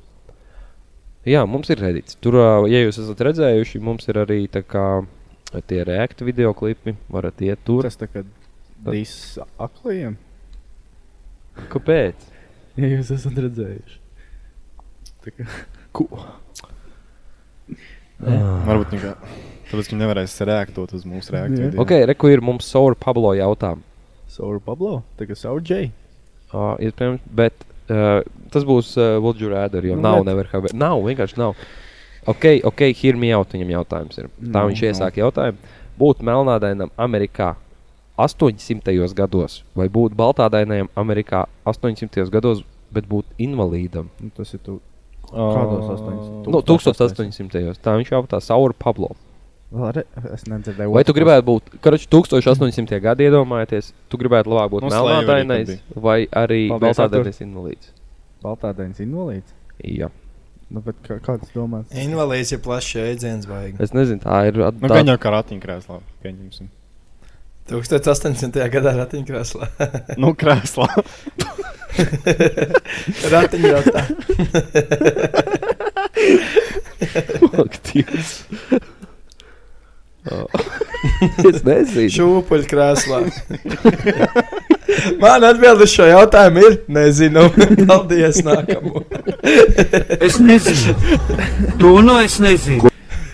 S1: Jā, mums ir redīts. Tur, ā, ja jūs esat redzējuši, mums ir arī tā kā tie reakti video klipi. Varat iet tur.
S10: tas tā kā viss aklajiem.
S1: Kāpēc?
S10: Ja jūs esat redzējuši. Tā kā-
S12: Varbūt viņi kā. Tāpēc viņi nevarēs reaktēt uz mūsu
S10: Jā.
S12: reakciju.
S1: Ok, reku ir mums Saura Pablo jautājumu.
S10: Sauru Pablo, tā kā savu džeju.
S1: Uh, iespējams, bet uh, tas būs Fulģu uh, rēdera, jo
S10: Nu,
S1: nu, nav
S10: bet-
S1: never however. Nav, vienkārši nav. Ok, ok, hirmi jautājums viņam jautājums ir. Tā
S10: Nu,
S1: viņš iesāk jautājumu. Būt melnādainam Amerikā 800. gados vai būt baltādainam Amerikā 800. gados, bet būt invalīdam?
S10: Nu, tas ir tu. Kādos astoņos?
S1: Nu, 1800. gados. Tā viņš jautā Saura Pablo.
S10: Vēl re- Es nedzirdēju.
S1: Vai tu gribētu būt, karš 1800. gadi iedomājieties, tu gribētu labāk būt
S12: Nu, Slayer arī tad
S1: melnādainais
S12: bija.
S1: vai arī
S10: Paldies,
S1: baltādainais invalīds?
S10: Baltādainis invalīds?
S1: Jā.
S10: Nu, bet kā, kāds domā?
S4: Invalīds ir plašs jēdziens, vajag.
S1: Es nezinu, tā ir at-
S12: Nu,
S1: tā-
S12: gan jau kā ratiņkrēslā. Pieņemsim.
S4: 1800. gadā [laughs] ratiņkrēslā.
S12: Nu, krēslā. [laughs]
S4: Ratiņkrēslā.
S1: aktīvs. Oh. [laughs] es nezinu.
S4: Šūpuļkrēslā. [laughs] Man atbild uz šo jautājumu ir nezinu. [laughs] Paldies, nākamo.
S13: Es nezinu. To no Nu, es nezinu.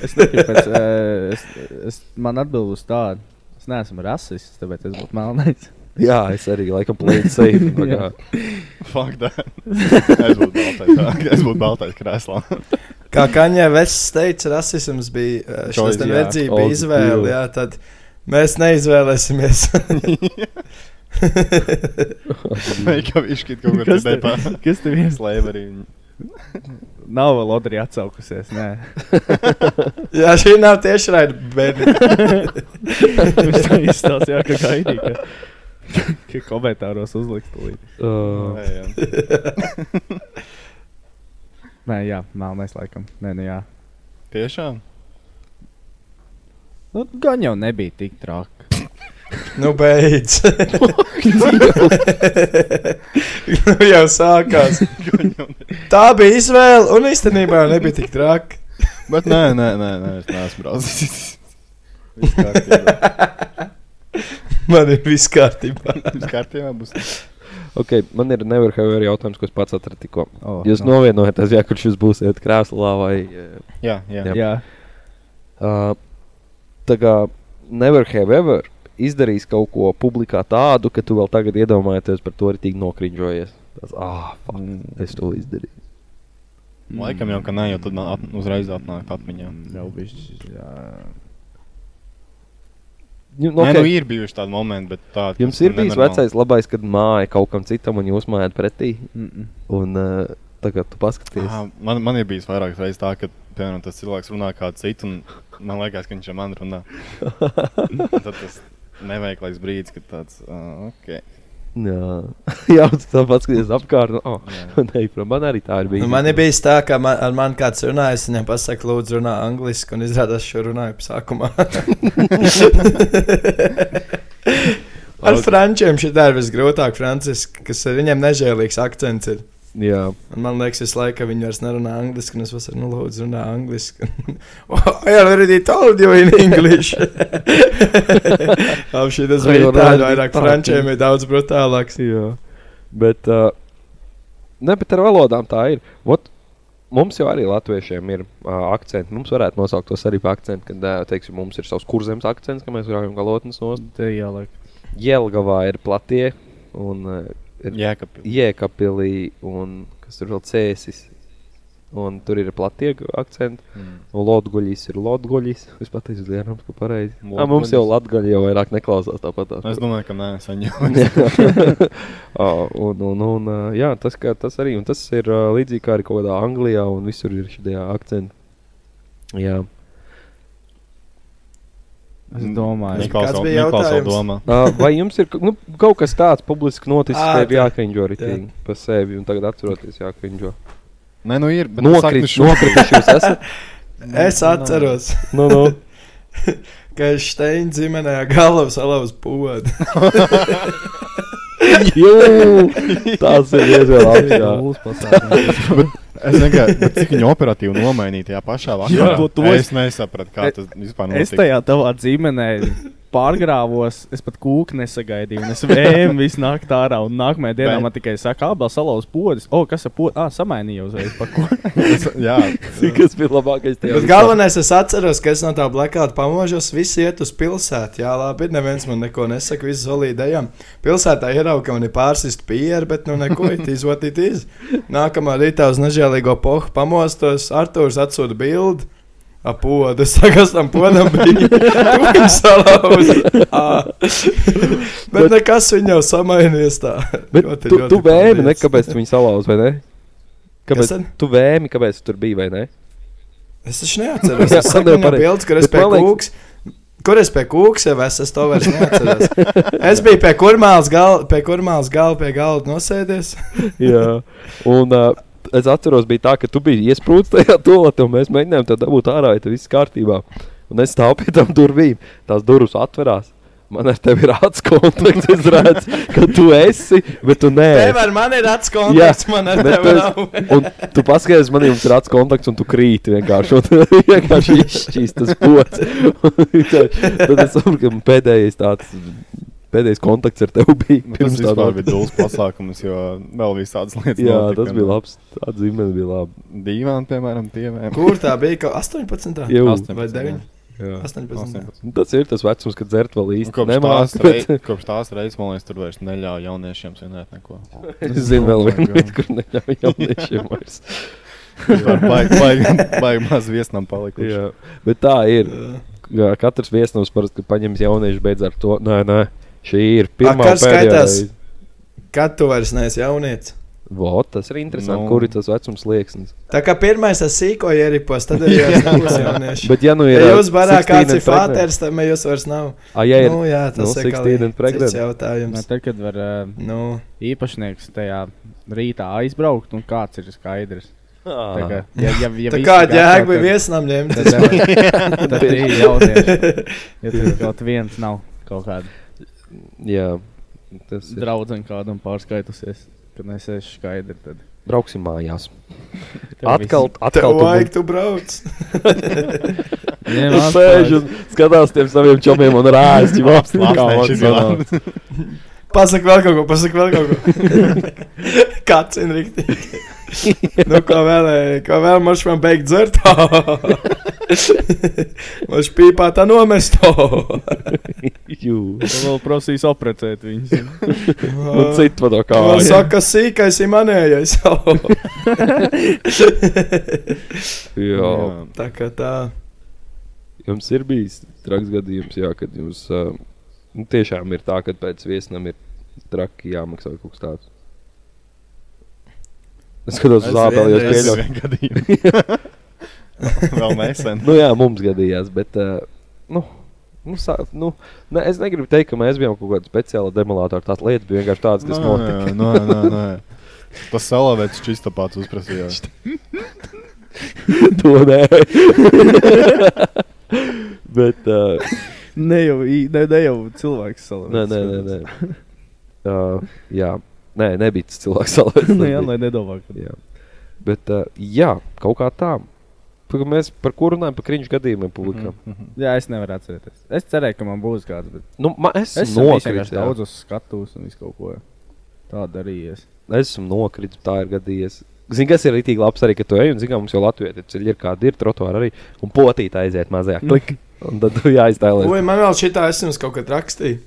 S10: Es negribu pēc. eh, es, es, man atbild uz tādu. Es neesmu rasists, tāpēc es būtu melnais.
S1: Jā, es arī laikam plēnu safe. tā
S10: Jā.
S1: kā.
S12: Fuck, tā.
S4: [laughs]
S12: Es būtu baltais. jā. Es būtu baltais krēslā.
S4: Kā Kaņē Vests teica, rasisms bija eh, šis
S12: Choice,
S4: te
S12: jā.
S4: verdzība
S1: Old
S4: izvēle,
S1: deal.
S4: jā, tad mēs neizvēlēsimies. [laughs]
S12: Vai kā viņš kaut ko
S10: Kas
S12: dzirdēja
S10: tev-
S12: par
S10: kas tev ir?
S12: slēverīm?
S10: Nav vēl Lodri atsaukusies. [laughs] Nē,
S4: jā, šī nav tieši raida bērni.
S10: viņš tā izstāsta, jā, ka gaidīja. Ka, ka komentāros uzliks to līdzi.
S1: Uh,
S12: Jā, jā.
S10: Nē, jā, melnais laikam. Nē, nu jā.
S12: Tiešām.
S10: Nu, gan jau nebija tik traki.
S4: Nu, beidz. nu, jau sākās. Tā bija izvēle, un īstenībā jau nebija tik traki.
S12: Bet nē, nē, nē, nē es neesmu brāzis. Viss kārtībā.
S4: Man ir viss kārtībā.
S12: Viss kārtībā būs.
S1: okay, man ir never however jautājums, ko es pats atradu tikko.
S10: Oh,
S1: Jūs
S10: no.
S1: novienojaties, ja kurš jūs būsiet krēslā vai. eh,
S12: Jā, jā. jā.
S10: Jā,
S1: Uh, tā kā never however izdarīs kaut ko publikā tādu, ka tu vēl tagad iedomājies par to, ir tik nokriņģojies. Tas, ah, fuck, es to izdarīju.
S12: Laikam jau, ka nē, jau tad nā- at, uzreiz atnāk atmiņā.
S10: jau bija.
S1: Nu,
S12: Okay. Nē,
S1: okei.
S12: nu ir bijuši tādi momenti, bet tādi.
S1: Jums
S12: kas
S1: ir
S12: nu
S1: bijis
S12: nenormāli.
S1: vecais labais, kad māja kaut kam citam un jūs mājat pretī.
S10: Mm
S1: Un uh, tagad tu paskaties.
S12: Ā, Man, man ir bijis vairākas reizes tā, ka, piemēram, tas cilvēks runā kā citu, un man liekas, ka viņš ar mani runā. Un tad tas neveiklais brīdis, kad tāds, uh, ok.
S1: Jā, [laughs] jau tādā paskatījās apkārt. nu, Oh, nē, prom, man arī tā ir bijusi.
S4: Nu, man ir bijis tā, ka man, ar mani kāds runājis, un viņš pasakā, lūdzu, runā angliski, un izrādās, šo runāju sākumā. ar frančiem šī ir visgrūtāk, franciski, kas ir viņiem nežēlīgs akcents. Ir.
S1: Jā.
S4: Un man liekas, visu laiku viņi vairs nerunā angliski, un es vasaru, nu, lūdzu, runā angliski. [laughs] Oh, Jā, arī bija tālu jau in
S1: [laughs]
S4: English. Apšī tas
S1: I
S4: bija
S1: already
S4: tāds, vairāk
S1: told
S4: frančiem
S1: you.
S4: ir daudz brutālāks.
S1: Jā. Bet, uh, ne, bet ar valodām tā ir. Vot, mums jau arī latviešiem ir uh, akcents. Mums varētu nosaukt tos arī par akcentu, kad uh, teiksim, mums ir savs kurzems akcents, ka mēs grājam galotnes nost. Jēlgavā ir platie un uh, jēkapilī un kas tur vēl cēsis. Un tur ir platie akcents. Mm. Lodgoļis ir lodgoļis. Es pateicu,
S12: nu,
S1: Dienam, ka pareizi. Ah, mums jau latgaļi jau vairāk neklausās tāpat.
S12: Es domāju, ka nē, saņēmu.
S1: Jā. Ā, un, un, un, ā, jā, tas, kā, tas arī un tas ir ā, līdzīgi kā arī kaut kādā Anglijā, un visur ir šie akcenti. Jā,
S10: Es domāju,
S12: Neklausot- Kāds bija neklausot jautājums? domā.
S1: Ā, vai jums ir ka- nu, kaut kas tāds publiski noticis,
S12: Ā,
S1: ka ir
S12: tā.
S1: jākriņģo arī
S12: Jā.
S1: par sevi, un tagad atceroties jākriņģo?
S12: Nē, nu ir.
S1: Nokrit, nokrituši jūs esat.
S4: Es atceros,
S1: Nu, nu.
S4: [laughs] ka Steina ģimenē galvā salauz pūdu.
S1: [laughs] Jū, [laughs] tas ir diezgan labi, jā.
S12: [laughs] Es vienkārši cik viņa operatīvi nomainīja tajā pašā vakarā.
S10: Jā, to- to
S12: es nesapratu,
S1: E-
S12: kā tas vispār
S10: Es
S12: notika.
S10: tajā tavā dzīmenē pārgrāvos, es pat kūku nesagaidīju, un es vēmu visu naktī ārā, un nākamajā dienā
S12: Bet-
S10: man tikai saka, abas salauz podas. O, kas ir podas? Ah, samainīju uzreiz par ko.
S12: jā,
S1: kas bija labākais
S4: Bet galvenais, es atceros, ka es no tā blackouta pamožos, visi iet uz pilsētu. Jā, labi, neviens man neko nesaka, visi zolīdējām. Pilsētā ierauga, ka man ir pārsist pieru, bet nu neko
S1: [laughs]
S4: it izvotīt iz. Nākamā rītā uz nežēlīgo pohu pamostos, Artūrs atsūta bildi. Apoda, [laughs] sakas tam podam bija. Viņš salauz. Ā. [laughs] Bet nekas viņa jau samainies tā.
S1: Bet
S4: Ļoti,
S1: tu,
S4: ļoti
S1: tu vēmi, ne,
S4: paldies.
S1: kāpēc tu viņu salauzi, vai ne?
S4: Kas
S1: Kāpēc
S4: tad?
S1: tu vēmi, kāpēc tu tur biji, vai ne?
S4: Es taču neatceros,
S1: [laughs] Jā,
S4: es saku,
S1: jau
S4: viņam
S1: pareizi.
S4: bildes, kur es
S1: Bet
S4: pie
S1: man liekas-
S4: kūks. Kur es pie kūks jau esmu, es to vairs neatceros. Es biju pie kurmālas galda, pie kurmālas galda, pie galda nosēdies.
S1: [laughs] Jā, un uh, es atceros, bija tā, ka tu biji iesprūdis tajā [laughs] toaletē, un mēs mēģinājām te dabūt ārā, ja tas viss kārtībā. Un es stāvu pie tam durvīm, tās durvis atverās. Man ar tevi ir acu kontakts, [laughs] es redzu, ka tu esi, bet tu nē.
S4: Tev ar mani ir acu kontakts, man ar
S1: [laughs] bet
S4: tevi
S1: tu esi-
S4: nav.
S1: Un tu paskaties, man jums ir acu kontakts, un tu krīti vienkārši. Un tu [laughs] vienkārši izšķīs tas [laughs] pots. Tad es saprotu, ka pēdējais tāds, pēdējais kontakts ar tevi bija.
S12: Nu, Tas
S1: tā
S12: vispār
S1: noti-
S12: bija dūls pasākums, jo vēl
S1: [laughs]
S12: visādas lietas.
S1: Jā,
S12: notika,
S1: tas bija
S12: nu.
S1: labs. Tā dzīve bija laba.
S12: Dīvaini, piemēram, piemēram.
S4: Kur tā bija? Ka 18.
S1: Jau.
S4: vai 9?
S1: Jā.
S4: 18.
S1: Nu, Tas ir tas vecums, kad dzert vēl īsti
S12: Kopš
S1: nemāc,
S12: tās, rei,
S1: bet-
S12: kopš tās reizes, man liekas, tur vairs neļāva jauniešiem svinēt neko.
S1: [laughs] Es zinu, vēl
S12: Oh my
S1: vienu
S12: God.
S1: vietu, kur neļauj jauniešiem vairs.
S12: Vispār
S1: [laughs]
S12: baigi- baigi- baigi maz viesnam palikuši.
S1: Jā, bet tā ir. Jā, Katrs viesnams parasti kad paņems jauniešu beidz ar to. Nē, nē, šī ir
S4: Pirmā
S1: pirmā
S4: skaitās,
S1: pēdējā.
S4: kad tu vairs neesi jaunietis.
S1: Vot, tas ir interesanti, nu. kur ir tas vecums liekas.
S4: Tā kā pirmais ir sīkoja ieripos, tad ir jau
S1: [laughs] Jā.
S4: nebūs jaunieši.
S1: Bet ja nu ir,
S4: ja
S1: uh,
S4: jūs vairāk
S1: 16
S4: kāds ir
S1: and pregnant?
S4: fāters, tad jūs vairs nav.
S1: Ā, ja ir-
S4: nu, jā, tas
S1: nu,
S4: ir
S1: 16 and pregnant.
S4: cits jautājums.
S10: Nē, tad, kad var uh,
S4: nu.
S10: īpašnieks tajā rītā aizbraukt, un kāds ir skaidrs.
S1: Ā.
S10: Tā kā, ja, ja, ja
S4: Tā
S10: visi
S4: kāda
S10: gatavi,
S4: jēga bija
S10: tad-
S4: viesnam ņemt?
S10: tad nevar- Tad ir
S4: Tieši.
S10: jaunieši. Ja tur kaut viens nav kaut kāda.
S1: Jā, tas ir.
S10: Draudzene kādam pārskaitusies, kad nesēž skaidri. Tad...
S1: Brauksim mājās.
S10: Tev
S1: Atkal,
S10: viss-
S1: atkal
S4: Tev
S1: tu
S4: vajag,
S1: bū-
S4: tu brauc.
S10: Ņem
S1: Tu
S10: atpakaļ.
S1: Nu, Sēž un skatās tiem saviem čomiem un rājas. ģip, apstāj, kā man sanāk.
S4: Pasak vēl kaut ko, pasak vēl kaut ko.
S1: [laughs]
S4: Kāds ir rīktīgi. nu, ko vēl, ej, ko vēl mums man beigt
S1: [laughs]
S4: dzert? Mums pīpā tā nomest.
S1: Jū.
S10: Tu vēl prasīs aprecēt viņus.
S4: [laughs]
S1: Un citu vado kā.
S4: Vēl saka, sīkais ir manējais. [laughs]
S1: Jā.
S4: tā kā tā.
S1: Jums ir bijis traks gadījums, jā, kad jums uh, nu, tiešām ir tā, ka pēc viesnam ir traki jāmaksā kaut kas tāds. Es skatos uz
S12: Es
S1: zābeli, jau
S12: vienreiz-
S1: pieļauju.
S12: es vien gadījumu. Vēl nesen.
S1: eh, nu, jā, mums gadījās, bet uh, nu, Nu, sā, nu, ne, es negribu teikt, ka mēs bijām kaut kāda speciāla demolātora. Tās lietas bija vienkārši tādas,
S12: nu,
S1: kas
S10: Nu
S1: notika.
S12: nē, nē, nē. nu. Tas salavēts čista pats uzprasīja.
S1: [laughs] to nē. Bet. Uh,
S10: Ne jau, i- ne, ne jau cilvēks salā.
S1: Nē, nē, nē. nē.
S10: [laughs]
S1: uh, jā, nē, nebija tas
S10: [laughs]
S1: cilvēks. Salvēts,
S10: Nu jā, lai nedomā,
S1: ka tā ir. Bet, uh, jā, kaut kā tā. Pa- Mēs par ko runājam, par krīžu gadījumiem publikā.
S10: Mhm.
S1: Mm -hmm.
S10: Jā, es nevaru atcerēties. Es cerēju, ka man būs kāds. Bet...
S1: Nu, man, es
S10: es
S1: esmu
S10: esmu
S1: nokritis,
S10: vienkārši
S1: jā.
S10: daudz uz skatuves un visu kaut ko tādu darījies.
S1: Esmu nokritis, tā ir gadījies. Zini, kas ir rītīgi labs arī, ka tu ej, un zini, kā mums jau Latvijā ir ceļi, ir kādi ir trotuāri arī, un potītā aiziet mazajā klikā. Un tad tu jāiztailē.
S4: Ui, man vēl šī tā es jums kaut kad rakstīju.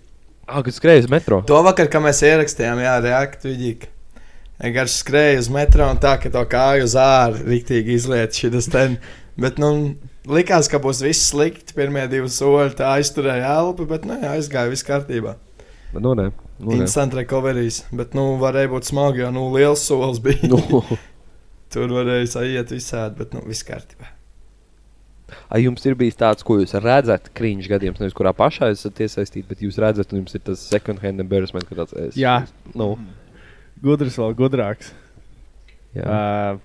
S1: Ah, kad skrēja uz metro.
S4: To vakar, kad mēs ierakstījām, jā, reaktīvīgi. Vienkārši skrēja uz metro un tā, ka to kāju uz ārā rīktīgi izliet šis ten. Bet, nu, likās, ka būs viss slikti. Pirmie divi soļi tā aizturēja elpu, bet, nu, jā, aizgāja viss kārtībā.
S1: Nu, nē, nu, nē.
S4: Instant recoverijas, bet, nu, varēja būt smagi, jo, nu, liels solis bija. Nu. [laughs] Tur varēja aiziet visādi, bet, nu, viss kārtībā.
S1: Ai, jums ir bijis tāds, ko jūs redzat, krīžs gadījums, nevis kurā pašā esat iesaistīti, bet jūs redzat, un jums ir tas second hand embarrassment, ka tāds es.
S10: Jā.
S1: Nu.
S10: Gudrs vēl gudrāks.
S1: Jā.
S10: Uh,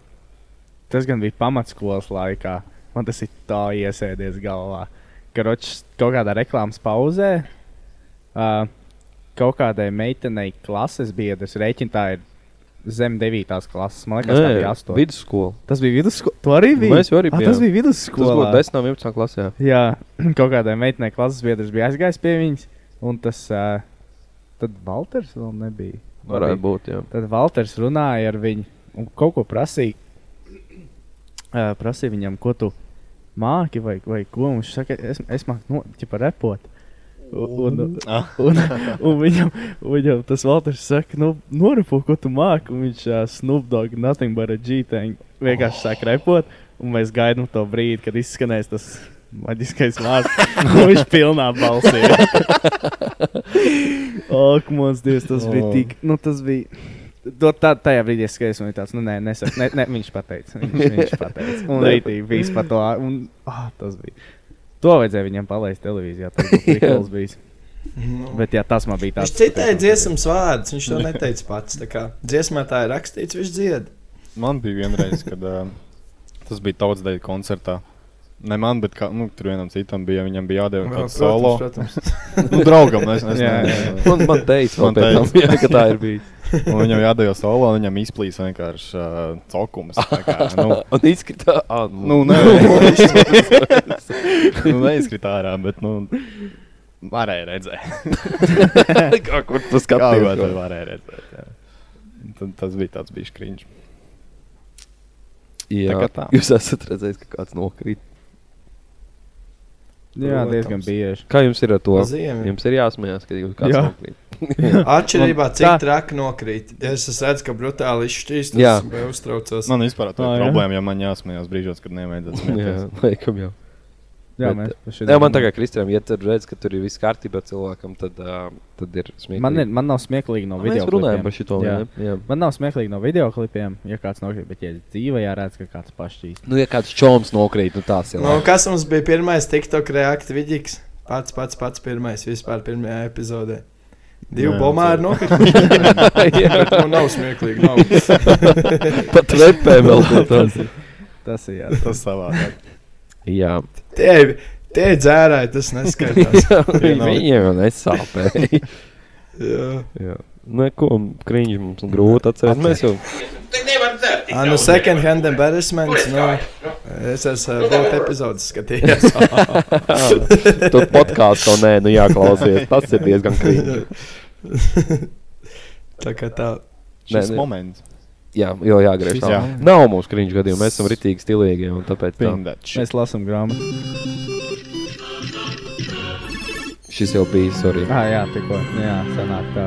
S10: tas gan bija pamatskolas laikā. Man tas ir tā iesēdies galvā. Karočs kaut kādā reklāmas pauzē. Uh, kaut kādai meitenei klases biedrs rēķina tā ir zem 9. klases. Man liekas, tā
S1: Nē,
S10: bija 8.
S1: vidusskola.
S10: Tas bija vidusskola. Tu arī biji?
S1: Mēs Nu, jau arī
S10: Ah,
S1: bijām.
S10: tas bija
S1: Tas
S10: vidusskolā.
S1: bija 10. un 11. klasē.
S10: Jā, [clears throat] kaut kādai meitenei klases biedrs bija aizgājis pie viņas, un tas uh, tad Valters vēl nebija.
S1: Varētu
S10: Vai bija?
S1: būt, jā.
S10: Tad Valters runāja ar viņu un kaut ko prasīja. Uh, prasīja viņam, ko tu māki vai, vai ko. un Viņš saka, es, es māku no, ķipa, repot. Un, un,
S12: Ah.
S10: un, [laughs] un viņam, viņam tas Valters saka, nu, norepo, ko tu māki. Un viņš uh, Snoop Dogg, nothing but a G-tank, vienkārši oh. sāk repot. Un mēs gaidām to brīdi, kad izskanēs tas maģiskais vārds. Un viņš pilnā balsī. Ak, mans dievs, tas bija
S12: Oh.
S10: tik. Nu, tas bija. To tā, tajā brīdī es skatos, un viņš tāds - nu, nē, nesaka, ne, ne, viņš pateica. Viņš, viņš pateica. Un rītīgi viss par to. Un, oh, tas bija. To vajadzēja viņam palaist televīzijā. Tas bija prikals bijis.
S4: Nu.
S10: Bet jā, tas man bija
S4: Viņš
S10: tāds.
S4: citēja dziesmas vārdus, viņš to [laughs] neteica pats. tā kā Dziesmā tā ir rakstīts, viņš dzied.
S12: Man bija vienreiz, kad uh, tas bija tautsdeja koncertā. Ne man, bet kā, nu, tur vienam citam bija, viņam bija jādara
S4: Jā,
S12: kaut kāds
S4: protams,
S12: solo.
S4: protams.
S12: nu, draugam, es nezinu.
S4: Jā, jā. Man- man teica vēl pēc tam,
S1: [laughs]
S4: jā, ka tā ir bijis.
S12: Un viņam jādara solo, un viņam izplīs vienkārši uh, cokums. tā Kā, nu,
S1: Un izkrita- ah, nu.
S12: nu, nē, nu, neizkrita ārā, bet, nu, varēja redzēt.
S1: [laughs] Kā kur tu skaties,
S12: Kā
S1: ko?
S12: var- varēja redzēt, jā. Tad, tas bija tāds bijis krīņš.
S1: Jā,
S12: Tā kā tā.
S1: Jūs esat redzējis, ka kāds nokrīt.
S10: Jā, diezgan bieži.
S1: Kā jums ir ar to?
S4: Ziemi.
S1: Jums ir jāsmējās, ka jūs kāds
S10: Jā.
S1: nokrīt.
S4: [laughs] Atšķirībā,
S10: Man
S4: cik
S10: tā-
S4: traki nokrīt. Ja es redzu, ka brutāli izšķīst,
S12: Jā.
S4: tad es uztraucos.
S12: Man vispār tā ir problēma, ja man jāsmējās brīžos, kad
S1: [laughs] Jā,
S12: nevajadzētu smieties.
S1: laikam jau.
S10: Jā,
S1: Bet,
S10: mēs par šitiem
S1: jā, man tā
S10: runājam.
S1: kā Kristijam, ja tur redz, ka tur ir viss kārtībā cilvēkam, tad, uh, tad ir smieklīgi.
S10: Man, ir, man nav smieklīgi no
S1: Ah, mēs
S10: video.
S1: runājam par šito, vai
S10: jā.
S1: ne? Jā.
S10: Man nav smieklīgi no video klipiem, ja kāds nokrīt, bet ja dzīvē jāredz, ka kāds pašķīst.
S1: Nu, ja kāds čoms nokrīt, nu tās ir.
S4: Nu,
S10: [laughs]
S4: kas mums bija pirmais TikTok reaktīvs? Pats, pats, pats pirmais vispār pirmajā epizodē. Divi
S1: Jā,
S4: bombāri
S1: jā. [laughs]
S4: nokrituši. [laughs]
S1: Jā.
S4: Nu, nav smieklīgi. Nav.
S1: [laughs] Pat repē vēl pie tam.
S10: tas ir. Tas ir jā.
S12: Tas
S1: [laughs]
S12: savādāk.
S1: Jā.
S4: [laughs] Tie, tie dzērāji, tas
S1: [laughs]
S4: neskaidrs.
S1: Jā, Viņiem jau nesāpēja.
S4: Jā.
S1: Jā. Nē, ko krīņš mums grūti atcerēties. Mēs jau.
S4: Ah, nu, second hand embarrassments. Nu, es esmu eh, būt epizodes skatījies.
S1: [laughs]
S4: [laughs]
S1: Tur podkāstā nē, nu jāklausies. Tas ir diezgan krīņš.
S4: Tā kā tā.
S12: Šis
S1: Nē, nē.
S12: moments.
S1: Jā, jo jāgriež.
S12: Šis
S1: tā.
S12: jā.
S1: Nav mums krīņš gadījumā, mēs esam ritīgi stilīgi. un Tāpēc tā.
S12: Pindač.
S10: Mēs lasām grāmatu.
S1: šis jau bija. Sorry.
S10: Ah, jā, tikko. Jā, sanāk tā.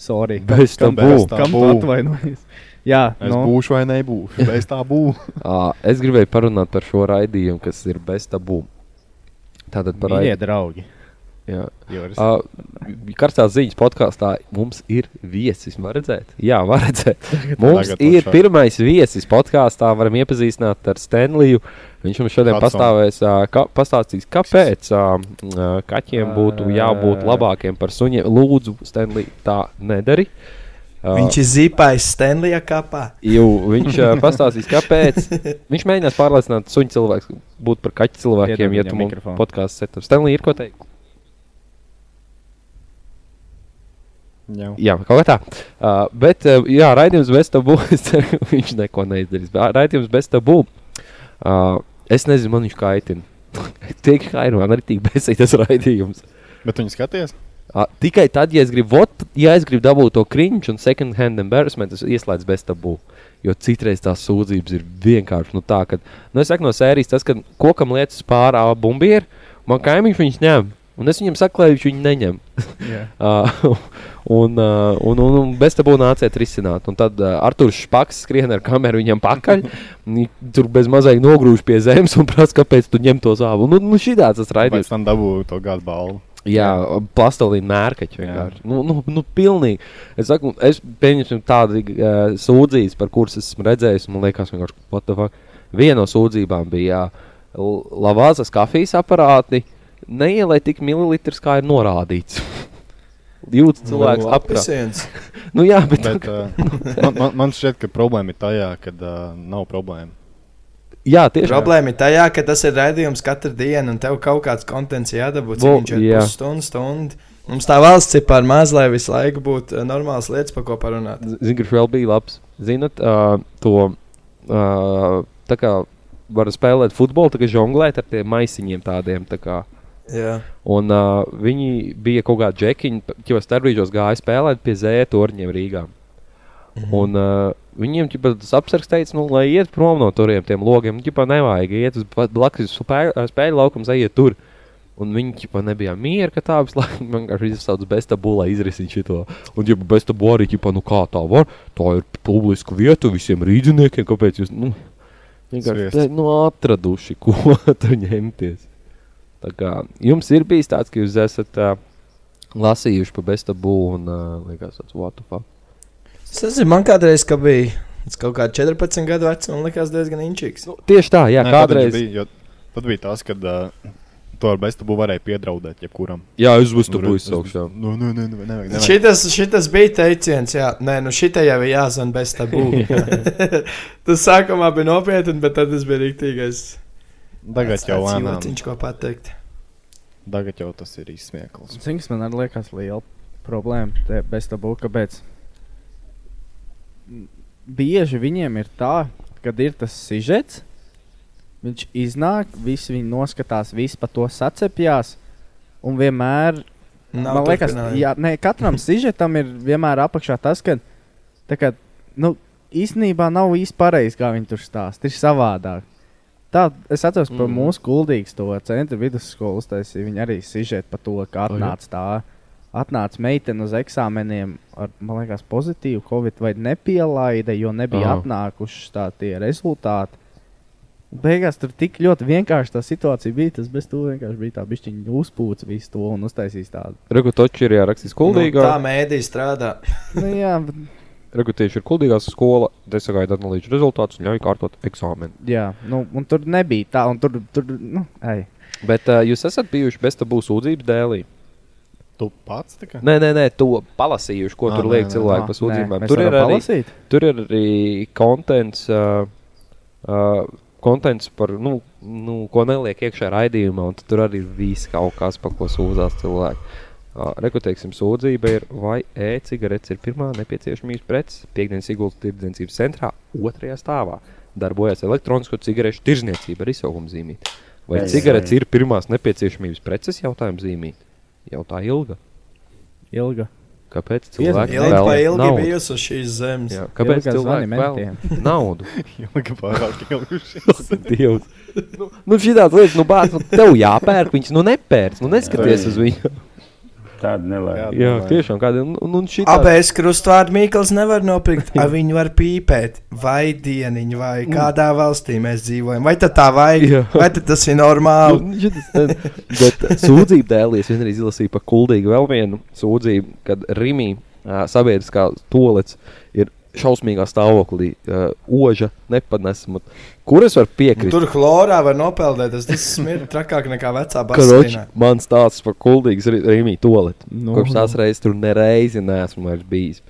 S10: Sorry.
S1: Bez
S10: Kam-
S1: tabū.
S10: Kam tu
S1: Tabū.
S10: atvainojies? Jā, nu,
S12: Es būšu vai nebūšu. Bez Nu? tā būs.
S1: [laughs] Ā, Es gribēju parunāt par šo raidījumu, kas ir bez tabū. Tātad par
S10: Mīļie
S1: raid-
S10: draugi.
S1: Jā.
S12: Joris.
S1: Uh, karstās ziņas podkāstā mums ir viesis. Var redzēt? Jā, var redzēt.
S12: [laughs] Tagad-
S1: Mums
S12: Tagad
S1: ir
S12: pašā.
S1: pirmais viesis podkāstā. Varam iepazīstināt ar Stanliju. Viņš mums šodien
S12: Hudson.
S1: pastāvēs, uh, ka, pastāstīs, kāpēc uh, uh, kaķiem būtu jābūt labākiem par suņiem. Lūdzu, Stanlij, tā nedari. Uh,
S4: Viņš ir zīmējis Stanley'a kapā.
S1: Jū, viņš uh, pastāstīs, kāpēc. Viņš mēģinās pārliecināt sunu cilvēku būt par kaķu cilvēkiem,
S10: Iedod
S1: ja
S10: viņam
S1: tu mums
S10: mikrofonu.
S1: podkāstā setup. Stanlī, ir ko teikt?
S12: Jā.
S1: Jā, kaut kā tā. Uh, bet, uh, jā, raidījums bez tabū. [laughs] Es ceru, ka viņš neko neizdarīs. Bet Raidījums bez tabū. Uh, es nezinu, man viņš kaitina. [laughs] Tiek kaitina, man arī tik besīgs raidījums.
S12: Bet viņi skatījās?
S1: Uh, tikai tad, ja es gribu, vot, ja es gribu dabūt to cringe un second hand embarrassment, es ieslēdzu bez tabū. Jo citreiz tās sūdzības ir vienkārši nu, tā, ka, nu, es saku no sērijas, tas, ka kokam lietas pārāva bumbieri, man kaimiņš viņus ņem. Un es viņam saku, lai viņš viņu neņem. [laughs]
S10: Jā.
S1: Uh, un, uh, un, un, un bez tam būtu nācēt risināt. Un tad uh, Arthurs Špaks skrien ar kameru viņam pakaļ. Viņi tur bez mazliet nogrūž pie zemes un prasa, kāpēc tu ņem to zābu. Nu, nu šī tāds tas raidījums.
S12: Pēc tam dabūju to gadu balvu.
S1: Jā, plastelīna mērkaķi vienkārši. Nu, nu, nu, pilnīgi. Es saku, es pieņemsim tādu uh, sūdzības, par kuras esmu redzējis, un man liekas, vienkārši, what the fuck. Viena no sūdzībām bija L- lavāzas kafijas aparāti. Neielai tik mililitrs, kā ir norādīts. [laughs] Jūtas cilvēks
S4: Nu, apesiens.
S1: apgrozījums. nu, jā, bet,
S12: bet uh, man, man, man šķiet, ka problēma ir tajā, ka uh, nav problēma.
S1: [laughs] jā,
S4: Tieši
S1: tieši
S4: Problēma ir tajā, ka tas ir raidījums katru dienu, un tev kaut kāds konteksts
S1: Bu-
S4: jādabū. Cik viņš ir
S1: jā.
S4: pusstundu, stundu. Mums tā valsts ir par maz, lai visu laiku būtu eh, normāls lietas, par ko parunāt.
S1: Zinu, kurš vēl bija labs. Zinat, uh, to uh, tā kā var spēlēt futbolu, tā kā žonglēt ar tiem maisiņiem tādiem. Tā kā.
S4: Jā.
S1: Un uh, viņi bija kaut kādā džekiņā, jau starpbrīžos gāja spēlēt pie zēna torņiem Rīgā.
S8: Mhm.
S1: Un, uh, viņiem ķipa, tas apsargs teica, nu, lai iet prom no turiem tiem logiem. Viņam nevajag iet uz pa- blakus spēļu, spēļu laukumu, aiziet tur. Un viņi ķipa, nebija mieru, ka tā visu laiku [laughs] vienkārši izsauca bez tabu, lai izrisinātu šo. Un, ja bez tabu arī, ķipa, nu kā tā var, tā ir publiska vieta visiem rīdziniekiem, kāpēc jūs nu, vienkārši
S12: Sviests.
S1: te- nu, atraduši, [laughs] ko tur ņemties. Tā kā, jums ir bijis tāds, ka jūs esat uh, lasījuši par beztabu un uh, liekas, tas what the fuck.
S4: Es nezinu, man kādreiz, kad bija es kaut kāds 14 gadu vecs, man likās diezgan inčīgs. Nu,
S1: Tieši tā, jā,
S12: Nē, tad viņš
S1: kādreiz.
S12: Bija, jo, tad bija tas, kad uh, to ar beztabu varēja piedraudēt jebkuram.
S1: Jā, es būtu
S12: Nu,
S1: bijis augšā.
S12: Nu, nu, nu, nu, nevajag, nevajag.
S4: Šitas, šitas bija teiciens, jā, nē, nu šitai jau ir jāzina bez tabū.
S1: [laughs]
S4: [laughs] tas sākumā bija nopietni, bet tad tas bija rīktīgais.
S12: Tagad
S4: tāds-
S12: jau
S4: tāds
S12: lēnām.
S4: jociņš, ko pateikt.
S12: Tagad jau tas ir izsmiekls.
S10: Zinies, man arī liekas liela problēma te bez tā būka, kāpēc. M, Bieži viņiem ir tā, kad ir tas sižets, viņš iznāk, visi viņu noskatās, visi pa to sacepjās. Un vienmēr,
S4: Nav
S10: man liekas,
S4: turpinājumu. Nu,
S10: jā, ne, katram sižetam ir vienmēr apakšā tas, ka tā kā, nu, īstenībā nav īsti pareizi, kā viņi tur stāsta. Ir savādāk. Tā, es atceros, ka mm.
S1: Mm.
S10: mūsu gudrīgs to centra vidusskolas taisīja. Viņa arī sižet par to, ka
S1: Oh, jā?
S10: atnāca tā. Atnāca meitene uz eksāmeniem ar, man liekas, pozitīvu covid vai nepielaida, jo nebija
S1: Aha.
S10: oh. atnākuši tā tie rezultāti. Beigās tur tik ļoti vienkārši tā situācija bija. Tas bez to vienkārši bija tā bišķiņa uzpūca visu to un uztaisīs tādu.
S1: Regu toči ir jārakstīs
S4: Nu, tā
S1: kuldīgā.
S4: mēdī strādā.
S10: Nu, jā, bet,
S1: Regu tieši ir kuldīgā skola, desagaida analīžu rezultātus un ļauj kārtot eksāmenu.
S10: jā, nu, un tur nebija tā, un tur, tur nu, ej.
S1: Bet uh, jūs esat bijuši bez tabu sūdzības dēlī.
S12: Tu pats tā kā? [laughs]
S1: Nē, nē, nē, to palasījuši, ko
S12: Ā,
S1: ah, tur
S12: nē,
S1: liek
S12: nē,
S1: cilvēki
S12: nē.
S1: par sūdzībām.
S10: Nē, mēs
S1: Tur ir,
S10: varam
S1: arī,
S10: palasīt?
S1: tur ir arī kontents. Uh, uh, Kontents par, nu, nu, ko neliek iekšā raidījumā, un tad tur arī ir viss kaut kas, par ko sūdzās cilvēki. Uh, Rekoteiksim, sūdzība ir, vai e-cigaretes ir pirmā nepieciešamības preces piekdienas ieguldījuma tirdzniecības centrā, otrajā stāvā. Darbojas elektronisko cigarešu tirzniecība ar izsaukumu zīmīti. Vai
S8: Ei,
S1: cigaretes
S8: ei.
S1: ir pirmās nepieciešamības preces jautājuma zīmīti? Jautā ilga.
S10: Ilga.
S1: Kāpēc
S4: Ilga
S1: cilvēki
S4: pa
S1: vēl
S4: ilgi
S1: naudu?
S4: bijusi uz šīs zemes.
S1: Jā, kāpēc
S10: Ilgā zvani
S1: cilvēki vēl
S10: mentiem.
S1: naudu?
S12: Ilgi pārāk ilguši.
S1: Dievs. [laughs] Nu, nu šī tāda lieta, nu, bāc, nu, tev jāpērk, viņš nu nepērk, nu neskaties
S12: Jā.
S1: uz viņu.
S5: Tāda nelaime.
S1: Jā, tiešām kāda. Un, un šī
S4: Abas krustvārdu mīklas nevar nopirkt. Ar viņu var pīpēt, vai dieniņu, vai kādā valstī mēs dzīvojam. Vai tad tā vajag?
S1: Jā.
S4: Vai tad tas ir normāli?
S1: Nu, šitas ne- Bet eh, sūdzību dēļ es vienreiz izlasīju par kuldīgu vēl vienu sūdzību, kad Rimī eh, sabiedriskā tolets ir šausmīgā stāvoklī, eh, oža nepanesama. Kur es varu piekrist?
S4: Tur chlorā var nopeldēt. Tas, tas ir trakāk nekā vecā
S1: Karoč,
S4: basēna.
S1: man stāsts par kuldīgas Rimī toletu.
S4: Nu,
S1: No, Kopš tās
S4: nu.
S1: reizes tur nereizi neesmu vairs bijis.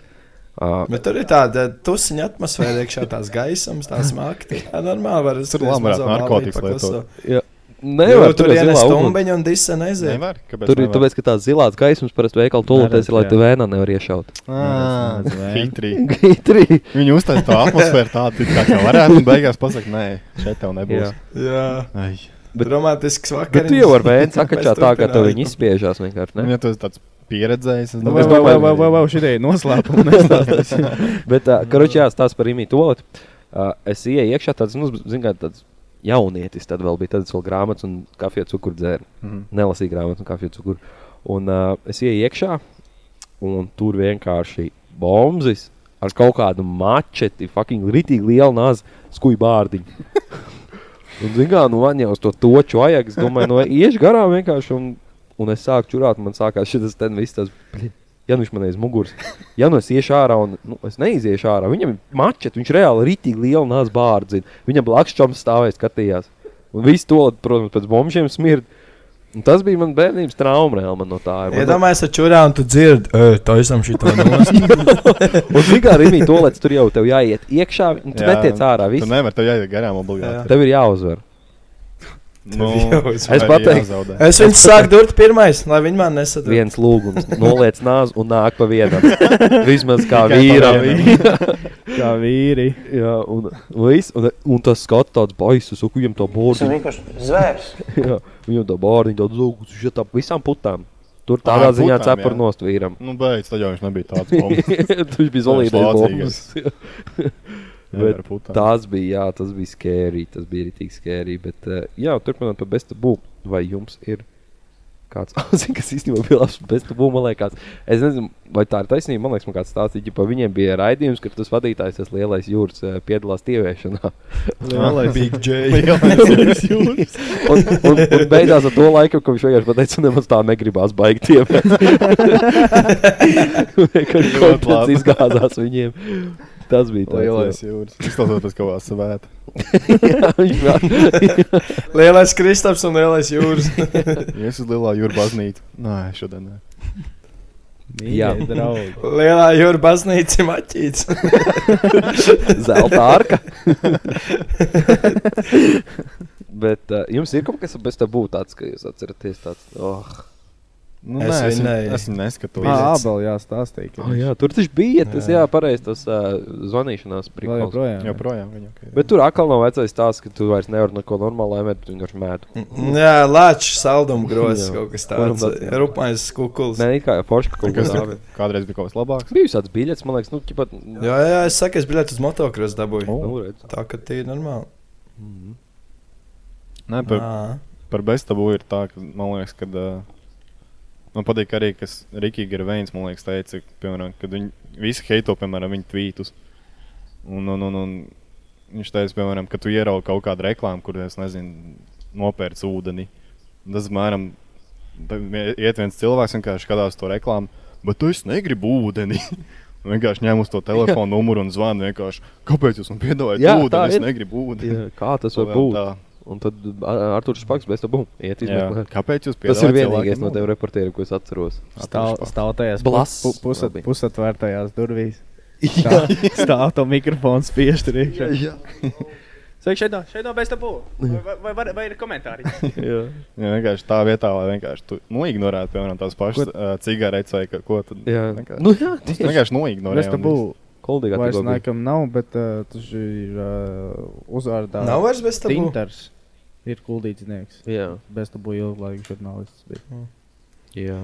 S1: Uh,
S4: Bet tur ir tāda tusiņa atmosfēra, iekšā tās gaismas, tās mākslinieks. Tā normāli var
S12: Tur labi varētu narkotikas lietot.
S1: Jā. Nevar,
S4: tur
S1: ir
S4: ir
S1: zilā uguns.
S4: stumbiņa un disa nezina.
S12: Nevar? Kāpēc
S1: Tur ir
S12: nevar?
S1: tāpēc, ka tās zilās gaismas parasti veikalā tolēties,
S12: Neredz,
S1: lai
S12: jā.
S1: te vēnā nevar iešaut. [laughs]
S12: Ā, Hitrī.
S1: Hitrī.
S12: Viņi uztaisīja to atmosfēru tādu, it kā tā varētu, un beigās pasakot, nē, šeit tev nebūs.
S1: Jā.
S4: Jā.
S12: Ai.
S4: Bet, Romantisks vakariņas.
S1: Bet tu jau ar vēju sakačā
S4: [laughs] Mēs
S1: tā, ka tev
S4: turpinām.
S1: viņi izspiežās vienkārši. Ne?
S12: Ja tu esi tāds pieredzējis, es
S1: Nu,
S12: domāju,
S1: vai- vai- vai-
S10: vai- vai- šitie
S1: [laughs]
S10: noslēpumi nestāstīs.
S1: Bet, uh, karoči, jā, stāsta par imītu tolēti. Uh, es ieeju iekšā, tāds, nu, zin kā tāds jaunietis, tad vēl bija tādas vēl grāmatas un kafiju cukuru dzēru.
S12: Mhm.
S1: Nelasīju grāmatas un kafiju cukuru. Un uh, es ieeju iekšā, un tur vienkārši bombas ar kaut kādu mačeti, fucking rītīgi lielu nāzi, skuju bārdiņu. Un, zin kā, nu, man jau uz to toču vajag. Es domāju, nu, iešu garām vienkārši. Un, un es sāku čurāt, un man sākās šis ten viss tas. bļi, Ja nu viņš man aiz muguras, ja nu es iešu ārā, un nu, es neiziešu ārā, viņam ir mačet, viņš reāli rītīgi liela nāca bārdzina. Viņam blakus čoms stāvēja, skatījās. Un viss to, protams, pēc bombžiem smird. Un tas bija mans bērnības trauma, reāli man no tā. ir. Man no-
S4: Iedomājies, ar čurā un tu dzirdi, e, tā esam šī tā nost.
S1: Un cik tālu ir tolēts, tur jau tev jāiet iekšā, un tu
S12: Jā,
S1: netiec ārā.
S12: Tu
S1: Viss.
S12: nevari, tev jāiet garām obligāti.
S1: Tev ir jāuzvar.
S12: Nu,
S1: [laughs] jāuzvar. Es
S12: arī
S1: pateiktu-
S12: jāzaudē.
S1: [laughs]
S4: Es viņu sāku durt pirmais, lai viņi man nesadūrītu.
S1: Viens lūgums, noliec nāzi un nāk pa vienam. Vismaz kā
S10: Tikai pa
S1: vīram.
S10: vienam. Kā vīri.
S1: Jā, un, viss, un, un tas skats tāds baisus, un viņam to
S8: Tas ir
S1: bārdiņu.
S8: vienkārši zvērs.
S1: Jā, viņam to bārdiņu tādu zūgu, viņš ir tā visām putām. Tur
S12: Ā,
S1: tādā ziņā
S12: putām,
S1: cepur
S12: jā.
S1: nost vīram. [laughs]
S12: Nu, beidz, tad jau viņš nebija tāds bombs.
S1: Viņš bija zolīdais bombas. [laughs] Bet
S12: [laughs] Nevar putām.
S1: tās bija, jā, tas bija skērī, tas bija rītīgi skērī. Bet, eh, jā, turpinot par bestabu, vai jums ir kāds, [laughs] zin, kas īstenībā bija labs bestabu, man liekas, es nezinu, vai tā ir taisnība, man liekas, man kāds stāstīja, ka viņiem bija raidījums, ka tas vadītājs, tas lielais jūras, eh, piedalās tieviešanā. [laughs]
S4: Lielais- Big J.
S1: Lielais jūras. un, un, un beigās ar to laiku, ka viņš vienkārši pateica, "Nu, nemaz tā negribās baigt
S12: [laughs]
S1: tievēt. Vienkārši
S12: Ļoti
S1: komplekts
S12: labi.
S1: izgāzās viņiem. Tas bija tāds,
S12: Lielais
S1: jā. [laughs]
S12: jūras. Tas tas tas kaut kā svēta. [laughs]
S4: Lielais Kristaps un lielais jūras.
S12: Es uz lielā jūra baznīcu. Nē, šodien nē.
S1: Jā.
S10: draugi.
S4: Lielā jūra baznīca ir maķīts. [laughs]
S1: Zelta [laughs] arka. Bet uh, jums ir kaut kas bez tā būt tāds, ka jūs atceraties tāds. Oh.
S12: Nu, Es nē, es viņu- vinēju. es viņu neskatos.
S10: Ah, abel, jā, stāstīja. ka
S1: Oh,
S10: viņš-
S1: jā, tur taču bija tas,
S10: Jā.
S1: jā, pareizi tas uh, zvanīšanās
S10: Vēl
S1: prikals.
S10: joprojām, jā.
S12: Joprojām viņa. ok.
S1: Bet tur atkal nav vecais tās, ka tu vairs nevari neko normālu laimēt, tu vienkārši mēt.
S4: Jā, lāčs, saldums grozs,
S1: Jā.
S4: kaut kas tāds.
S1: Varam tā-
S4: Rupmais kukuls.
S1: Nē, it kā forši kaut kas
S12: Kas tur
S1: tāds.
S12: kādreiz bija kaut kas labāks?
S1: Bija tāds biļets, man liekas, nu, ķipat,
S4: Jā, jā, es saku, es biļetu uz motokrosu dabūju.
S1: Nu,
S4: Oh.
S1: redz.
S4: Tā kā tie ir normāli.
S12: Nē,
S4: Ā.
S12: par, par bestabu ir tā, ka man liekas, ka. ā, Man patīk arī, kas Rikija Gerveins, man liekas, teica, ka, piemēram, kad viņi visi heito, piemēram, viņa tvītus. Un, un, un, un viņš teica, piemēram, ka tu ieraugi kaut kādu reklāmu, kur, es nezinu, nopērts ūdeni. Un Tas, mēram, iet viens cilvēks, vienkārši skatās to reklāmu, bet tu es negribu ūdeni. [laughs] Un Vienkārši ņēmu
S1: [laughs]
S12: uz to telefonu numuru un zvanu. vienkārši, Kāpēc jūs man piedāvājat
S1: Jā, tā
S12: ūdeni? Es
S1: ir.
S12: negribu ūdeni. [laughs]
S1: Jā, kā tas var
S12: Vēl
S1: būt?
S12: tā.
S1: Un tad Arthurs Špaks bez tam iet
S12: Jā.
S1: izmeklēt.
S12: Kāpēc jūs
S1: Tas ir
S12: piedāvājat
S1: vienīgais
S12: cilvēkiem nu.
S1: no tiem reportieriem, ko es atceros.
S10: Stāv, stāv tajās
S1: Blass.
S10: pu- pu- pusat- pusatvērtajās
S1: [laughs]
S10: durvīs. Stāv, stāv to mikrofonu spiež tur iekšā.
S12: Jā,
S10: [laughs] Sveiki, šeit no, šeit no bez tabu.
S1: Nu
S10: Vai, vai, vai, vai ir komentāri?
S1: Jā.
S12: [laughs] Jā, vienkārši tā vietā, lai vienkārši tu nu, ignorētu, piemēram, tās pašas uh, cigaretes vai ka- ko tādu.
S1: Jā.
S12: vienkārši-
S1: Nu jā,
S12: Tas
S1: tieši.
S12: vienkārši
S1: Nu,
S12: noignorē.
S10: Bez tabu.
S1: Koldīgā
S10: Vairs
S1: tikko bija.
S10: laikam nav, bet uh, tas ir uh, uzvārdā.
S4: Nav vairs bez tabu?
S10: Tinters ir kuldīdznieks.
S1: Jā.
S10: Bez tabu ilglaika žurnālists [laughs] bija.
S4: Mm.
S1: Jā.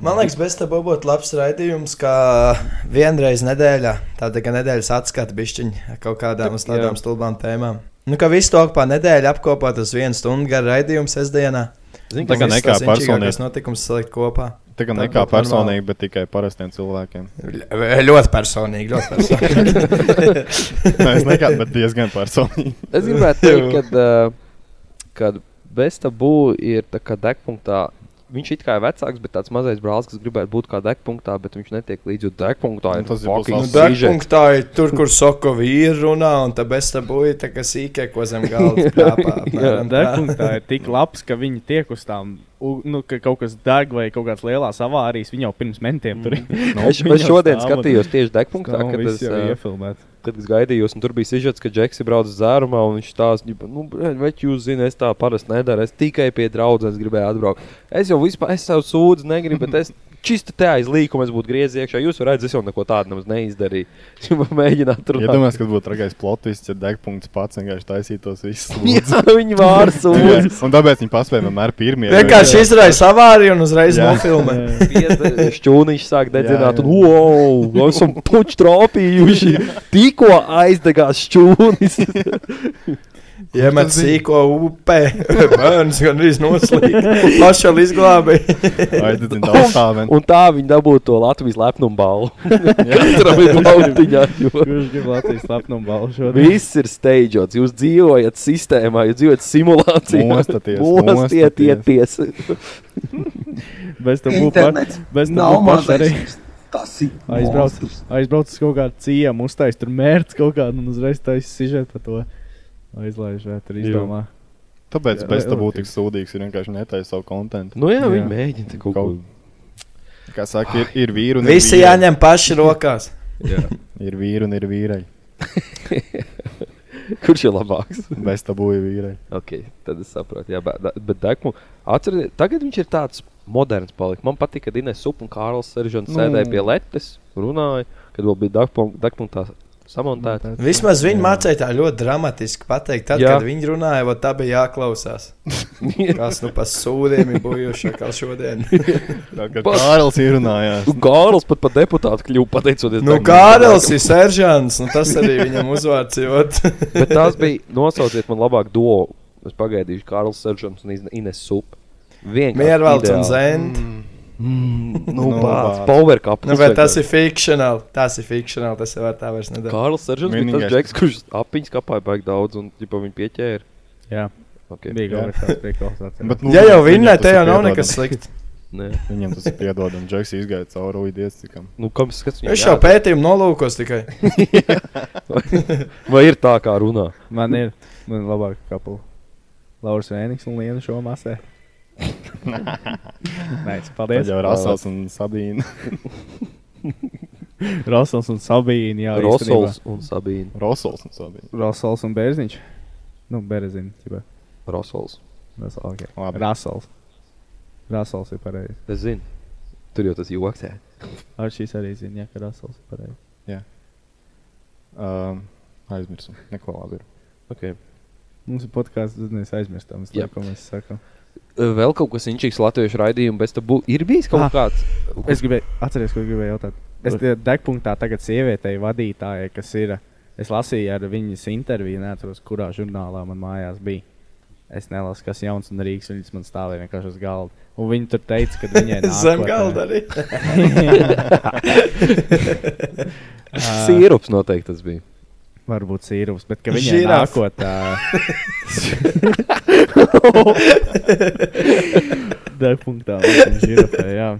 S4: Man liekas, bez tā būtu labs raidījums, kā vienreiz nedēļā, tāda kā nedēļas atskata pišķiņa kaut kādām uz tādām
S1: Jā.
S4: stulbām tēmām. Nu, kā visu to kopā nedēļu apkopot uz vienu stundu garu raidījumu sestdienā.
S12: Zini, tā kā nekā
S4: personīgais
S12: personīgi.
S4: notikums salikt kopā.
S12: Tā kā ne kā personīgi, bet tikai parastiem cilvēkiem. [laughs]
S4: Ļoti personīgi, ļoti personīgi.
S12: Nē, es nekad, bet diezgan personīgi.
S1: Es gribētu
S12: [laughs]
S1: teikt, ka uh, bez tabū ir tā kā degpunktā. Viņš it kā ir vecāks, bet tāds mazais brālis, kas gribētu būt kā degpunktā, bet viņš netiek līdzi degpunktā.
S12: Nu, tas ir
S1: fucking
S4: Nu,
S1: sižets.
S4: Dārgpunktā ir tur, kur saka vīri runā, un tā bez tā būja tā kā sīkē, ko zem galda
S12: [laughs]
S4: plēpā. apmēram tā.
S10: Degpunktā ir tik labs, ka viņi tiek uz tām, u- nu, ka kaut kas deg vai kaut kādas lielas avārijas, viņi jau pirms mentiem tur ir.
S1: Nu, es es šodien
S10: [laughs]
S1: skatījos tieši degpunktā, kad es, eh,
S10: iefilmēju.
S1: kad es gaidījos, un tur bija sižets, ka Džeks ir braucis zārumā, un viņš tās, nu, več, jūs zināt, es tā parasti nedaru, es tikai pie draudzenes gribēju atbraukt. Es jau vispār, es savu sūdzu negribu, bet es čisti te aiz līkumu, es būtu griezies iekšā, jūs redzat, es jau neko tādu nemaz neizdarīju. [laughs] Es jau mēģināju tur
S12: Ja domās, ka būtu trakais plotis, ja degpunkts pats vienkārši taisītos
S1: [laughs]
S12: visus.
S1: [laughs]
S12: lūdzu.
S1: Jā, viņi vāra
S12: [laughs] Tikai-
S1: sūdzes.
S12: Un tāpēc viņi paspēja vienmēr pirmie.
S4: Vienkārši izraisa avāriju un uzreiz
S12: Jā.
S4: nofilmē.
S1: Šķūniņš sāk dedzināt,
S12: jā.
S1: un wow, esam puķi
S12: [laughs]
S1: tropījuši. Tikko aizdegās šķūnis.
S4: Iemet
S1: Tas bija-
S4: sīko upē, [laughs] bērns gan arī noslīd. Pašu vēl izglābīja.
S12: Aizdedzina daudz stāvēm.
S1: [laughs] Un tā viņi dabūja to Latvijas lepnumu
S12: [laughs]
S1: balvu. Katram ir baltiņā.
S10: [laughs] Kurš grib Latvijas lepnumu balvu šodien? [laughs]
S1: Viss ir steidžots. Jūs dzīvojat sistēmā, jūs dzīvojat simulācijā.
S12: Mostaties,
S1: Mostieties.
S10: Bez tam
S13: Internets
S10: bez tam
S13: nav
S10: būs arī.
S13: mazais. Tas ir
S10: [laughs] Aizbrauc,
S13: monstrs.
S10: aizbrauc uz kaut kādu ciemu, uztais tur mērķis kaut kādu un uzreiz taisa sižet par to. Aizlaiž vai tur izdomā.
S12: Tāpēc
S10: Jā,
S12: bez tā būtu
S10: relatīvi.
S12: tik sūdīgs, ir vienkārši netaisa savu kontentu.
S1: Nu jā, viņi mēģina te kaut ko.
S12: Kā saka, ir, ir vīri un ir
S4: Visi
S12: vīreļi.
S4: jāņem paši rokās.
S12: Jā. Ir vīri un ir vīreļi.
S1: Kurš ir labāks?
S12: Bez tā būja vīreļi.
S1: Okay, tad es saprotu, jā, bet, bet Dēkmu, atcerieties, tagad viņš ir tāds moderns. Palik. Man patīk, kad Inês Supa un Kārlis Seržants
S4: Nu.
S1: nu. sēdēja pie Latvijas, runāja, kad vēl bija Dēkmu tā samontēta.
S4: Vismaz viņi mācīja tā ļoti dramatiski pateikt, tad,
S1: Jā.
S4: kad viņi runāja, vot tā bija jāklausās.
S1: [laughs]
S4: Kas nu pa sūdiem ir bijuši kā šodien.
S12: Tā kā Kārlis ierunājās.
S1: Kārlis pat par deputātu kļuva pateicoties.
S4: Nu,
S1: Dagmai.
S4: Kārlis ir seržants, nu tas arī viņam uzvārds jūt.
S1: Bet tās bija, nosauciet man labāk duo. Es pagaidīšu Kārlis Seržants un Izne- Ines Supa. Vienkārši
S4: Miervalds un
S1: ideāli.
S4: Zend.
S1: Mm, nu, bāc, power couple.
S4: Nu, bet tas ir fikcionāli. Tas ir fikcionāli, tas jau var tā vairs nedarīt.
S1: Kārlis Seržants bija tas
S12: Vienīgais.
S1: džeks, kurš apiņas kapāja baigi daudz un ģipa, viņu pieķēra.
S10: Jā.
S1: Okay.
S10: Bija kaut kas tāds pieklausās.
S12: Bet, nu,
S4: Ja jau
S12: viņam
S4: vinnē,
S12: tas
S4: te
S12: ir
S4: jau nav
S12: piedodami.
S4: nekas slikts.
S1: Nē.
S12: Viņam tas ir piedodami. Džeks izgāja cauri Uidiestikam.
S1: Nu, kam skats viņam
S4: Es jau
S1: jādara?
S4: pētījumu nolūkos tikai.
S1: Vai ir tā, kā runā?
S10: Man ir, man ir labāk kapela. Lauris Vēnings un Lienu šo
S12: [laughs]
S10: masē. Nē,
S12: Tad
S10: paldies.
S12: jau Rasels un Sabīna. [laughs]
S10: Rosals un Sabīna. Jā,
S1: Rosols un Sabīna.
S12: Rosels un Sabīna.
S10: Rosals un Bērziņš. Nu, Bērziņš, ķibā.
S1: Rosols.
S10: Rosals, okay.
S12: Labi.
S10: Rasals. Rasals ir pareizi.
S1: Es zinu. Tur jau tas joks. jā.
S10: Ar šīs arī zina, jā, ka Rasals ir pareizi.
S12: Jā. Um, aizmirsu. Neko labi ir.
S1: Okay.
S10: Mums ir podkāsts, tad mēs aizmirstam, es
S1: Jā.
S10: domāju, ko mēs sakām.
S1: Vēl kaut kas inčīgs latviešu raidījumā, bez tam ir bijis kaut
S10: Ah.
S1: kāds.
S10: Es gribēju, atcerieties, ko gribēju jautāt. Es te degpunktā tagad sievietei vadītājai, kas ir. Es lasīju ar viņas interviju, neatceros, kurā žurnālā man mājās bija. Es nelasu, kas jauns un rīks, viņas man stāvēja vienkārši uz galda. Un viņa tur teica, ka [laughs] viņai nākotnē-
S4: Zem galda arī.
S10: Ā,
S1: Sīrups noteikti tas bija.
S10: Varbūt sīrups, bet ka viņai
S1: Žiraf.
S10: [laughs] nākotnē. Degpunktā. laikam žirafai, Jā.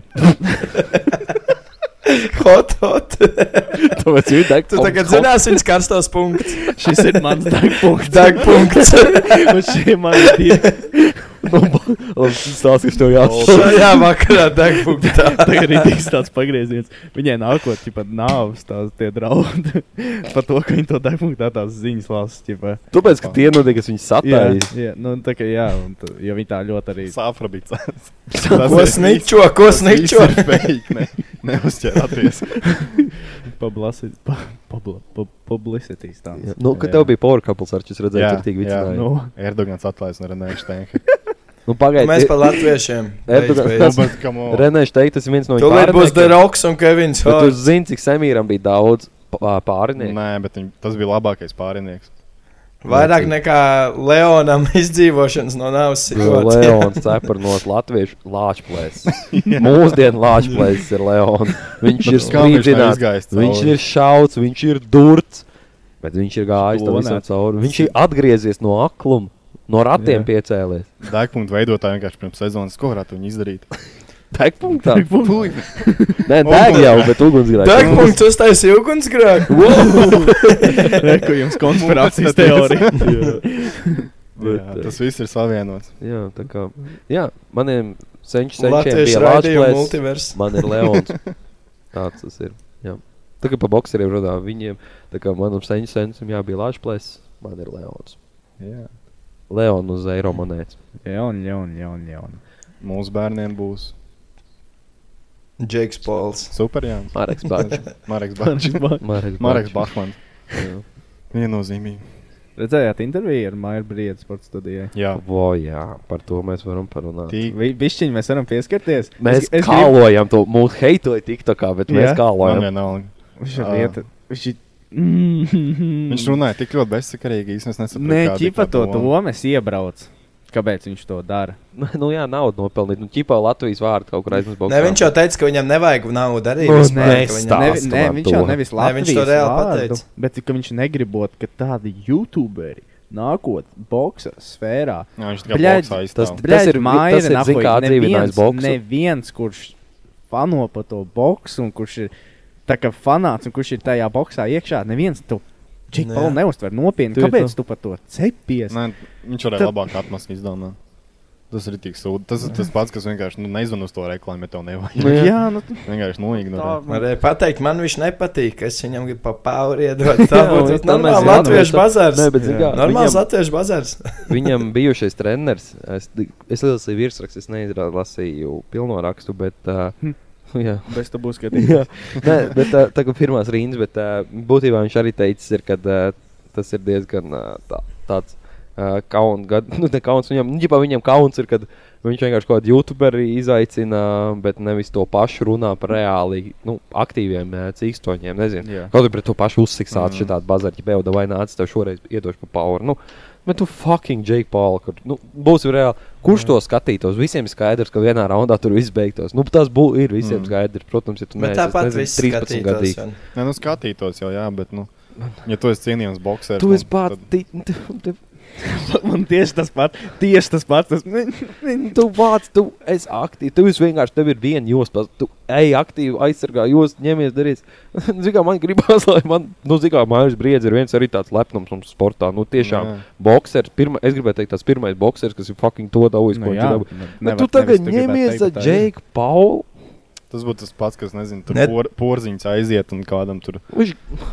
S4: Hot, hot.
S1: [laughs] Tāpēc ir deg-
S4: Tu tagad zinās viņas karstos [laughs] punkts.
S10: Šis ir mans degpunkts.
S4: Degpunkts.
S10: [laughs] Un šie ir mani divi. [laughs]
S1: Labi, stāsti, kas tev jāsaka.
S4: [laughs] Šajā vakarā degpunktā.
S10: [laughs] Tagad ir bijis tāds pagrieziens. Viņai nākotnē pat nāves tās tie
S1: [laughs]
S10: draudi par to, ka viņi to degpunktā tās ziņas lasa. ķipa.
S1: Tāpēc, ka tie notiek, kas viņu
S10: Jā,
S1: satājas.
S10: jā, nu, tā kā jā, un tā, jo viņi tā ļoti arī.
S4: [laughs]
S12: Sāfrabīts.
S4: Ko sniķo, ko sniķo?
S12: Fake, ne, neuzķerāties.
S4: [laughs]
S10: Publicity. Publicity.
S1: Jā. Nu,
S10: [laughs]
S1: kad tev bija power couples, ar šis redzēja,
S12: Jā,
S1: ka tik
S12: jā.
S1: vicināja.
S10: Nu,
S12: Erdogans atlaist no Renēša Stenka.
S1: Nu, pagaidi.
S4: Mēs
S1: tie-
S4: par
S1: [laughs]
S4: latviešiem.
S1: Erdogan-
S4: Beidz, beidz.
S12: But come on.
S1: Renēš teikt, tas ir viens no
S4: Tūlīt būs The
S1: pārniekiem.
S4: Rocks un Kevins.
S1: Bet tu
S4: Hart.
S1: zini, cik Samīram bija daudz pā- pārinieku.
S12: Nē, bet viņ, tas bija labākais pārinieks.
S4: Vairāk nekā Leonam [laughs] izdzīvošanas no nāves situācijas. [laughs]
S1: Leons cepurnot latviešu lāčplēs. Mūsdienu lāčplēs ir Leons. Viņš ir
S12: Kā viņš tā izgājis
S1: spīdzināts,
S12: cauri?
S1: viņš ir šauts, viņš ir durts, bet viņš ir gājis tam visam
S12: Lonēts.
S1: cauri. Viņš ir atgriezies no akluma, no ratiem piecēlies.
S12: Dēkpunktu veidotāji vienkārši pirms sezonas, ko varētu viņi izdarīt?
S1: Degpunktā?
S12: Puiši.
S1: Nē, deg jau, bet ugunsgrēks.
S4: Degpunkts uztaisīja ugunsgrēku.
S1: [laughs]
S12: Reku jums konspirācijas teorija.
S10: [laughs]
S12: Jā,
S10: eh,
S12: tas viss ir savienots.
S1: Jā, tā kā. Jā, maniem senču senčiem
S4: Latviešu
S1: bija
S4: raidījuma
S1: Latvijas.
S4: multivers.
S1: Man ir
S10: [laughs]
S1: Leons. Tāds tas ir. Jā. Tā kā pa bokseriem runā viņiem, tā kā manam senču sencim jābija Latvijas, man ir Leons.
S12: Jā.
S1: Leon uz eiro monētas.
S12: Jaun, jaun, jaun, jaun. Mūsu bērniem būs
S4: Džeks Pols.
S12: super, jā.
S1: Mareks
S10: [laughs]
S1: Bačs.
S12: Mareks Bačs.
S1: Mareks
S12: Mareks
S1: Bačs.
S12: Bachman.
S1: Jā.
S12: Viennozīmīgi.
S10: Redzējāt interviju ar Maiju Brīsku sporta studijā.
S12: Jā.
S1: Vo, jā, par to mēs varam parunāt.
S12: Tī-
S10: Višķiņi mēs varam pieskarties.
S1: Mēs
S10: es, es gribu-
S1: kālojam to, mūsu heitoja tiktokā, bet mēs
S10: Jā.
S12: Man
S1: kālojam.
S12: vienalga.
S10: Viņš ir
S12: Ā.
S10: lieta. Viņš ir.
S12: Viņš runāja tik ļoti bezsakarīgi, īstenībā nesaprotu.
S10: Nē, ķipa to domu es iebraucu. Kāpēc viņš to dara?
S1: [laughs] Nu jā, naudu nopelnīt. Nu, ķipā Latvijas vārdu kaut kur aizmest.
S4: Ne, viņš jau teica, ka viņam nevajag naudu arī.
S1: Nu,
S4: vispār,
S1: nē,
S4: ka viņam-
S1: stāsti
S10: Nevi, ne,
S1: man
S10: viņš
S1: to.
S10: jau nevis
S4: Nē,
S10: labi
S4: viņš to reāli pateica.
S10: Bet ka viņš negribot, ka tādi youtuberi nākot boxa sfērā.
S12: Jā, viņš tikai
S10: Bļaģ,
S12: boksā aizstāv.
S10: tas,
S12: Tas-
S1: tas
S10: bļaģ,
S1: ir-
S10: Maira
S1: tas ir, zini, kā
S10: nahuj,
S1: atdzīvinājis
S10: neviens-
S1: boksu.
S10: Neviens, kurš fano par to boksu un kurš ir tā kā fanāts un kurš ir tajā boxā iekšā, neviens to
S4: Nē.
S10: čikpalu neuztver nopietni.
S1: Tu ir
S10: Kāpēc tu par to cepies?
S12: Nē, viņš varēja labāk atmaskāt izdomāt. Tas ir tik sūdi. Tas ir tas pats, kas vienkārši nu, nezvanīja uz to reklāmu, ja tev nevajag.
S10: Jā, jā nu,
S12: Vienkārši noignorēja.
S10: tā,
S4: Varēja pateikt, man viņš nepatīk. Es viņam gribu pa
S1: [laughs]
S4: pauri iedot. Tā
S1: [laughs] Jā,
S4: būtu
S1: tā mēs
S4: normāla
S1: jau
S4: latviešu
S1: atmetam.
S4: bazārs.
S1: Nē, nu, bet zini kā,
S4: Normāls
S1: viņam-
S4: latviešu bazārs.
S1: Viņam bijušais treneris, es, es lasīju virsrakstu, es neizlasīju pilno rakstu, bet.
S4: Hm.
S1: Uh, [laughs] jā,
S10: Bez tam būs [laughs]
S1: jā.
S10: skatījums.
S1: Nē, bet tā, tā kā pirmās rīnas, bet uh, būtībā viņš arī teica, ka uh, tas ir diezgan uh, tā, tāds. Uh, kauns, gad, [laughs] nu, ne kauns viņam, nu, ģipā viņam kauns ir, kad viņš vienkārši kaut kādu youtuberu izaicina, bet nevis to pašu runā par reāli nu, aktīviem uh, cīkstoņiem. Nezinu,
S12: Jā.
S1: Kaut arī pret to pašu uzsiksāt, mm. šādi bazarķi beigās, vai nāc, tev šoreiz iedošu pa pauru. Nu, bet tu fucking Jake Paul, kur nu, būs reāli. Kurš to skatītos? Visiem ir skaidrs, ka vienā raundā tur viss beigtos. Nu, tas būs ir visiem mm. skaidrs. Protams, ja tu
S4: Bet
S1: neesi, es
S4: tāpat
S1: nezinu,
S4: viss
S1: 13
S4: skatītos.
S1: gadīgs.
S4: un-
S12: Nē, nu skatītos jau, jā, bet, nu, ja tu esi cienījams boxers,
S1: Tu
S12: nu,
S1: esi
S12: tad-
S1: pārāk.
S10: Man tieši tas pats, tieši tas pats. Tas, ne, ne,
S1: Tu vāc, tu esi aktīvs. Tu esi vienkārši, tev ir viena josta. Tu ej aktīvi, aizsargā jostu, ņemies darīt. [laughs] Zinām, man gribās, lai man, nu, zinām, mājas briedzi ir viens arī tāds lepnums mums sportā. Nu, tiešām,
S12: Jā.
S1: boxers, pirma, es gribēju teikt, tas pirmais boxers, kas ir fucking to dabūjis,
S10: Nu
S1: ko viņš
S10: jā,
S1: dabūja.
S10: nu,
S1: Bet
S10: nevar-
S1: Tu tagad
S10: nevis tu gribētu
S1: ņemies
S10: teikt,
S1: ar
S10: bet tā ir.
S1: Jake Paulu.
S12: Tas būtu tas pats, kas, nezinu, tur
S4: Net-
S12: por, porziņš aiziet un kādam tur,
S1: Viņš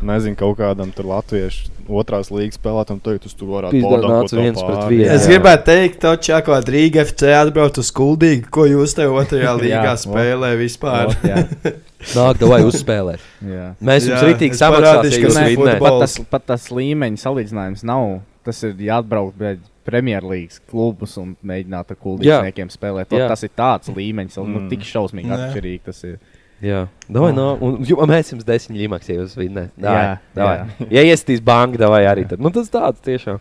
S12: nezinu, kaut kādam tur latviešu otrās līgas spēlētam teikt, tu tur varētu
S1: Pizdā,
S12: baudām, ko
S1: nāc
S12: tev
S1: viens
S12: pāri.
S1: pret vienu.
S4: Es
S1: Jā.
S4: gribētu teikt, to čakā, ka Rīga FC atbrauc uz skuldīgu, ko jūs te
S1: [laughs]
S4: otrajā līgā
S10: Jā,
S4: spēlē vispār.
S10: Ot, jā.
S1: Nāk, vai uzspēlēt.
S10: Jā.
S1: Mēs jums
S4: Jā,
S1: rītīgi
S4: es parādīšu,
S1: samaksāsim,
S4: ka
S1: jūs
S4: nē,
S1: vinnēt.
S4: futbolu-
S10: Pat
S4: Balss.
S10: tas, pat tas līmeņa salīdzinājums nav. Tas ir jāatbrauc pie Premjerlīgas klubus un mēģināt ar kundzeņiem spēlēt.
S1: Jā.
S10: Ot, Tas ir tāds līmeņš, mm. nu,
S12: Mm.
S10: tik šausmīgi
S4: Nē.
S10: atšķirīgs tas ir.
S1: Jā, davai, no, un, jo, mēs jums desmit līmēs, ja jūs vinnēt. Jā,
S10: Jā,
S1: davai. Ja iestīs banka, davai arī tad. Nu, tas tāds tiešām.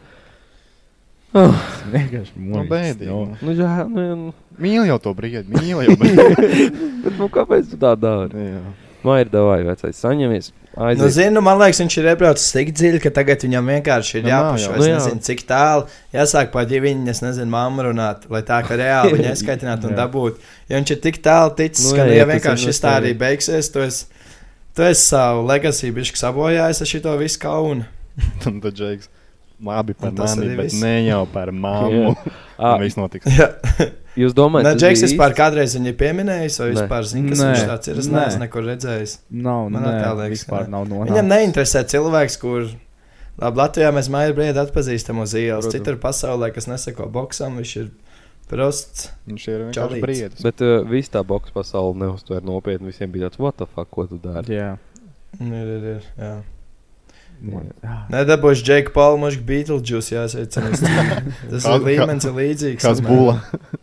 S10: Tas vienkārši
S12: Nu, bēdīgi.
S10: mūžs.
S12: nu.
S1: Nu, jā, nu, jā, nu,
S12: Mīli jau to brīdi, mīli jau
S1: [laughs]
S12: brīdi.
S1: bet, nu kāpēc tu tā dari?
S12: Jā.
S1: Man ir davai, vecais, saņemies.
S4: Nu,
S1: Aizies.
S4: zinu, man liekas, viņš ir iebraucis tik dziļi, ka tagad viņam vienkārši ir
S12: Nu, nav
S4: jāpašā.
S12: jau.
S4: Es
S1: Nu, jā.
S4: nezinu, cik tālu jāsāk pa ģiviņu, es nezinu, māmu runāt, lai tā kā reāli
S1: [laughs]
S4: viņa aizskaitinātu un
S10: Jā.
S4: dabūtu. Ja viņš ir tik tālu ticis,
S1: Nu,
S4: ka,
S1: jā,
S4: nu,
S1: jā,
S4: ja
S1: tas
S4: vienkārši
S1: ir
S4: šis tā arī
S1: nostāvīgi.
S4: beigsies, tu esi, tu esi savu legacy bišķi sabojājis ar šito visu kaunu.
S12: Un tad Džeiks. Labi par
S4: Un tas
S12: mani,
S4: arī
S12: bet
S4: viss.
S12: ne jau par mammu. [laughs]
S1: Ā,
S12: Viss notiks.
S4: Jā. [laughs]
S1: Jūs domājat,
S4: Nē,
S1: tas
S4: Nu, Džeks
S1: bija
S4: vispār kādreiz viņu pieminējis, vai
S1: Nē.
S4: vispār zina, kas
S10: Nē.
S4: viņš tāds ir. Es
S10: Nē.
S4: neesmu nekur redzējis.
S10: Nav, nu,
S4: Man
S10: nē,
S4: tā liekas,
S10: vispār
S4: jā.
S10: nav
S4: Aha.
S10: nonācis.
S4: Viņam neinteresē cilvēks, kurš labi, Latvijā mēs maiju brīdi atpazīstam uz ielas.
S1: Protams.
S4: Citur pasaulē, kas neseko boxam, viņš ir prosts.
S12: Viņš ir vienkārši
S4: Čalīts.
S12: brīdis.
S1: Bet uh, viss tā boks pasaule neuztver nopietni. Visiem bija tāds, what the fuck, ko tu dari?
S10: Jā.
S4: Nu, Ir, ir, ir, jā.
S10: Jā.
S4: Nedabūs Jake Paul, mušķi Beetlejuice jāsaicinās. Tas
S12: Kā-
S4: ir līmenis ir līdzīgs.
S12: Kāds
S4: un,
S12: būla? [laughs]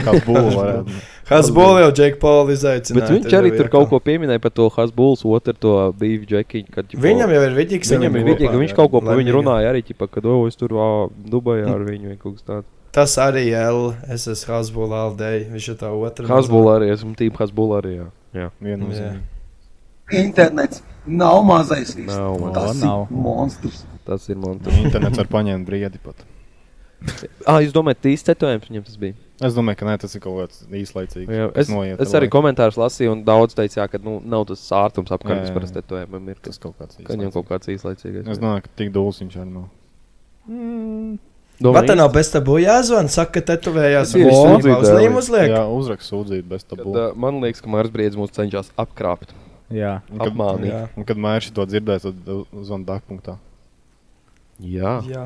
S12: Hasbula varētu būt.
S4: Hasbula jau Jake Paul izaicināja.
S1: Bet viņš arī tur kaut ko pieminēja par to Hasbulas otru, to bīvu džekiņu. Kad, ķipa,
S4: Viņam jau ir viģiks,
S1: Viņam
S4: viņam
S1: ir
S4: ir
S1: viģīgi.
S4: kopā,
S1: Viņš
S4: jā,
S1: kaut ko par viņu
S4: laimīgi.
S1: runāja arī, ķipa, kad o, es tur vā, Dubajā ar viņu vai kaut kas tāds.
S4: Tas arī L, es esmu Hasbula Aldei, viņš ir tā otra.
S1: Hasbula arī, esmu tīpa Hasbula arī. Jā. Jā.
S4: Viennozīmīgi.
S8: Internets nav mazais. viss.
S1: Nav, man.
S8: Tas
S12: Nav.
S8: ir monstrs.
S1: Tas ir monstrs.
S12: Internets var paņemt briedi pat.
S1: Ah, jūs domājat, tīsts cetojums viņam tas bija?
S12: Es domāju, ka nē, tas ir kaut kāds īslaicīgs.
S1: Jā,
S12: kas
S1: es,
S12: noiet
S1: es
S12: ar
S1: arī
S12: laiku.
S1: komentārus lasīju, un daudz teica, jā, ka nu, nav tas ārtums apkārt,
S12: Jā, jā,
S1: kas
S12: jā.
S1: parasti tetojumam ir. Tas
S12: kaut kāds
S1: īslaicīgs. Viņam kaut kāds īslaicīgais.
S12: Es nu- domāju, ka tik dūls viņš arī nav.
S4: Bet tā nav bez tabu jāzvan, saka, ka tetovējās.
S1: Tieši
S4: un
S1: sūdzīt,
S4: uzlīm
S1: jā.
S4: uzliek.
S12: Jā, uzrakst sūdzību bez tabu.
S1: Kad, uh, man liekas, ka Mārs Briedis mūs cenšas apkrāpt.
S10: Jā.
S12: Un kad-
S1: Apmānīt.
S12: jā. Un kad mērķis to dzirdēs, tad zvanīt dārpunktā.
S1: Jā.
S4: Jā.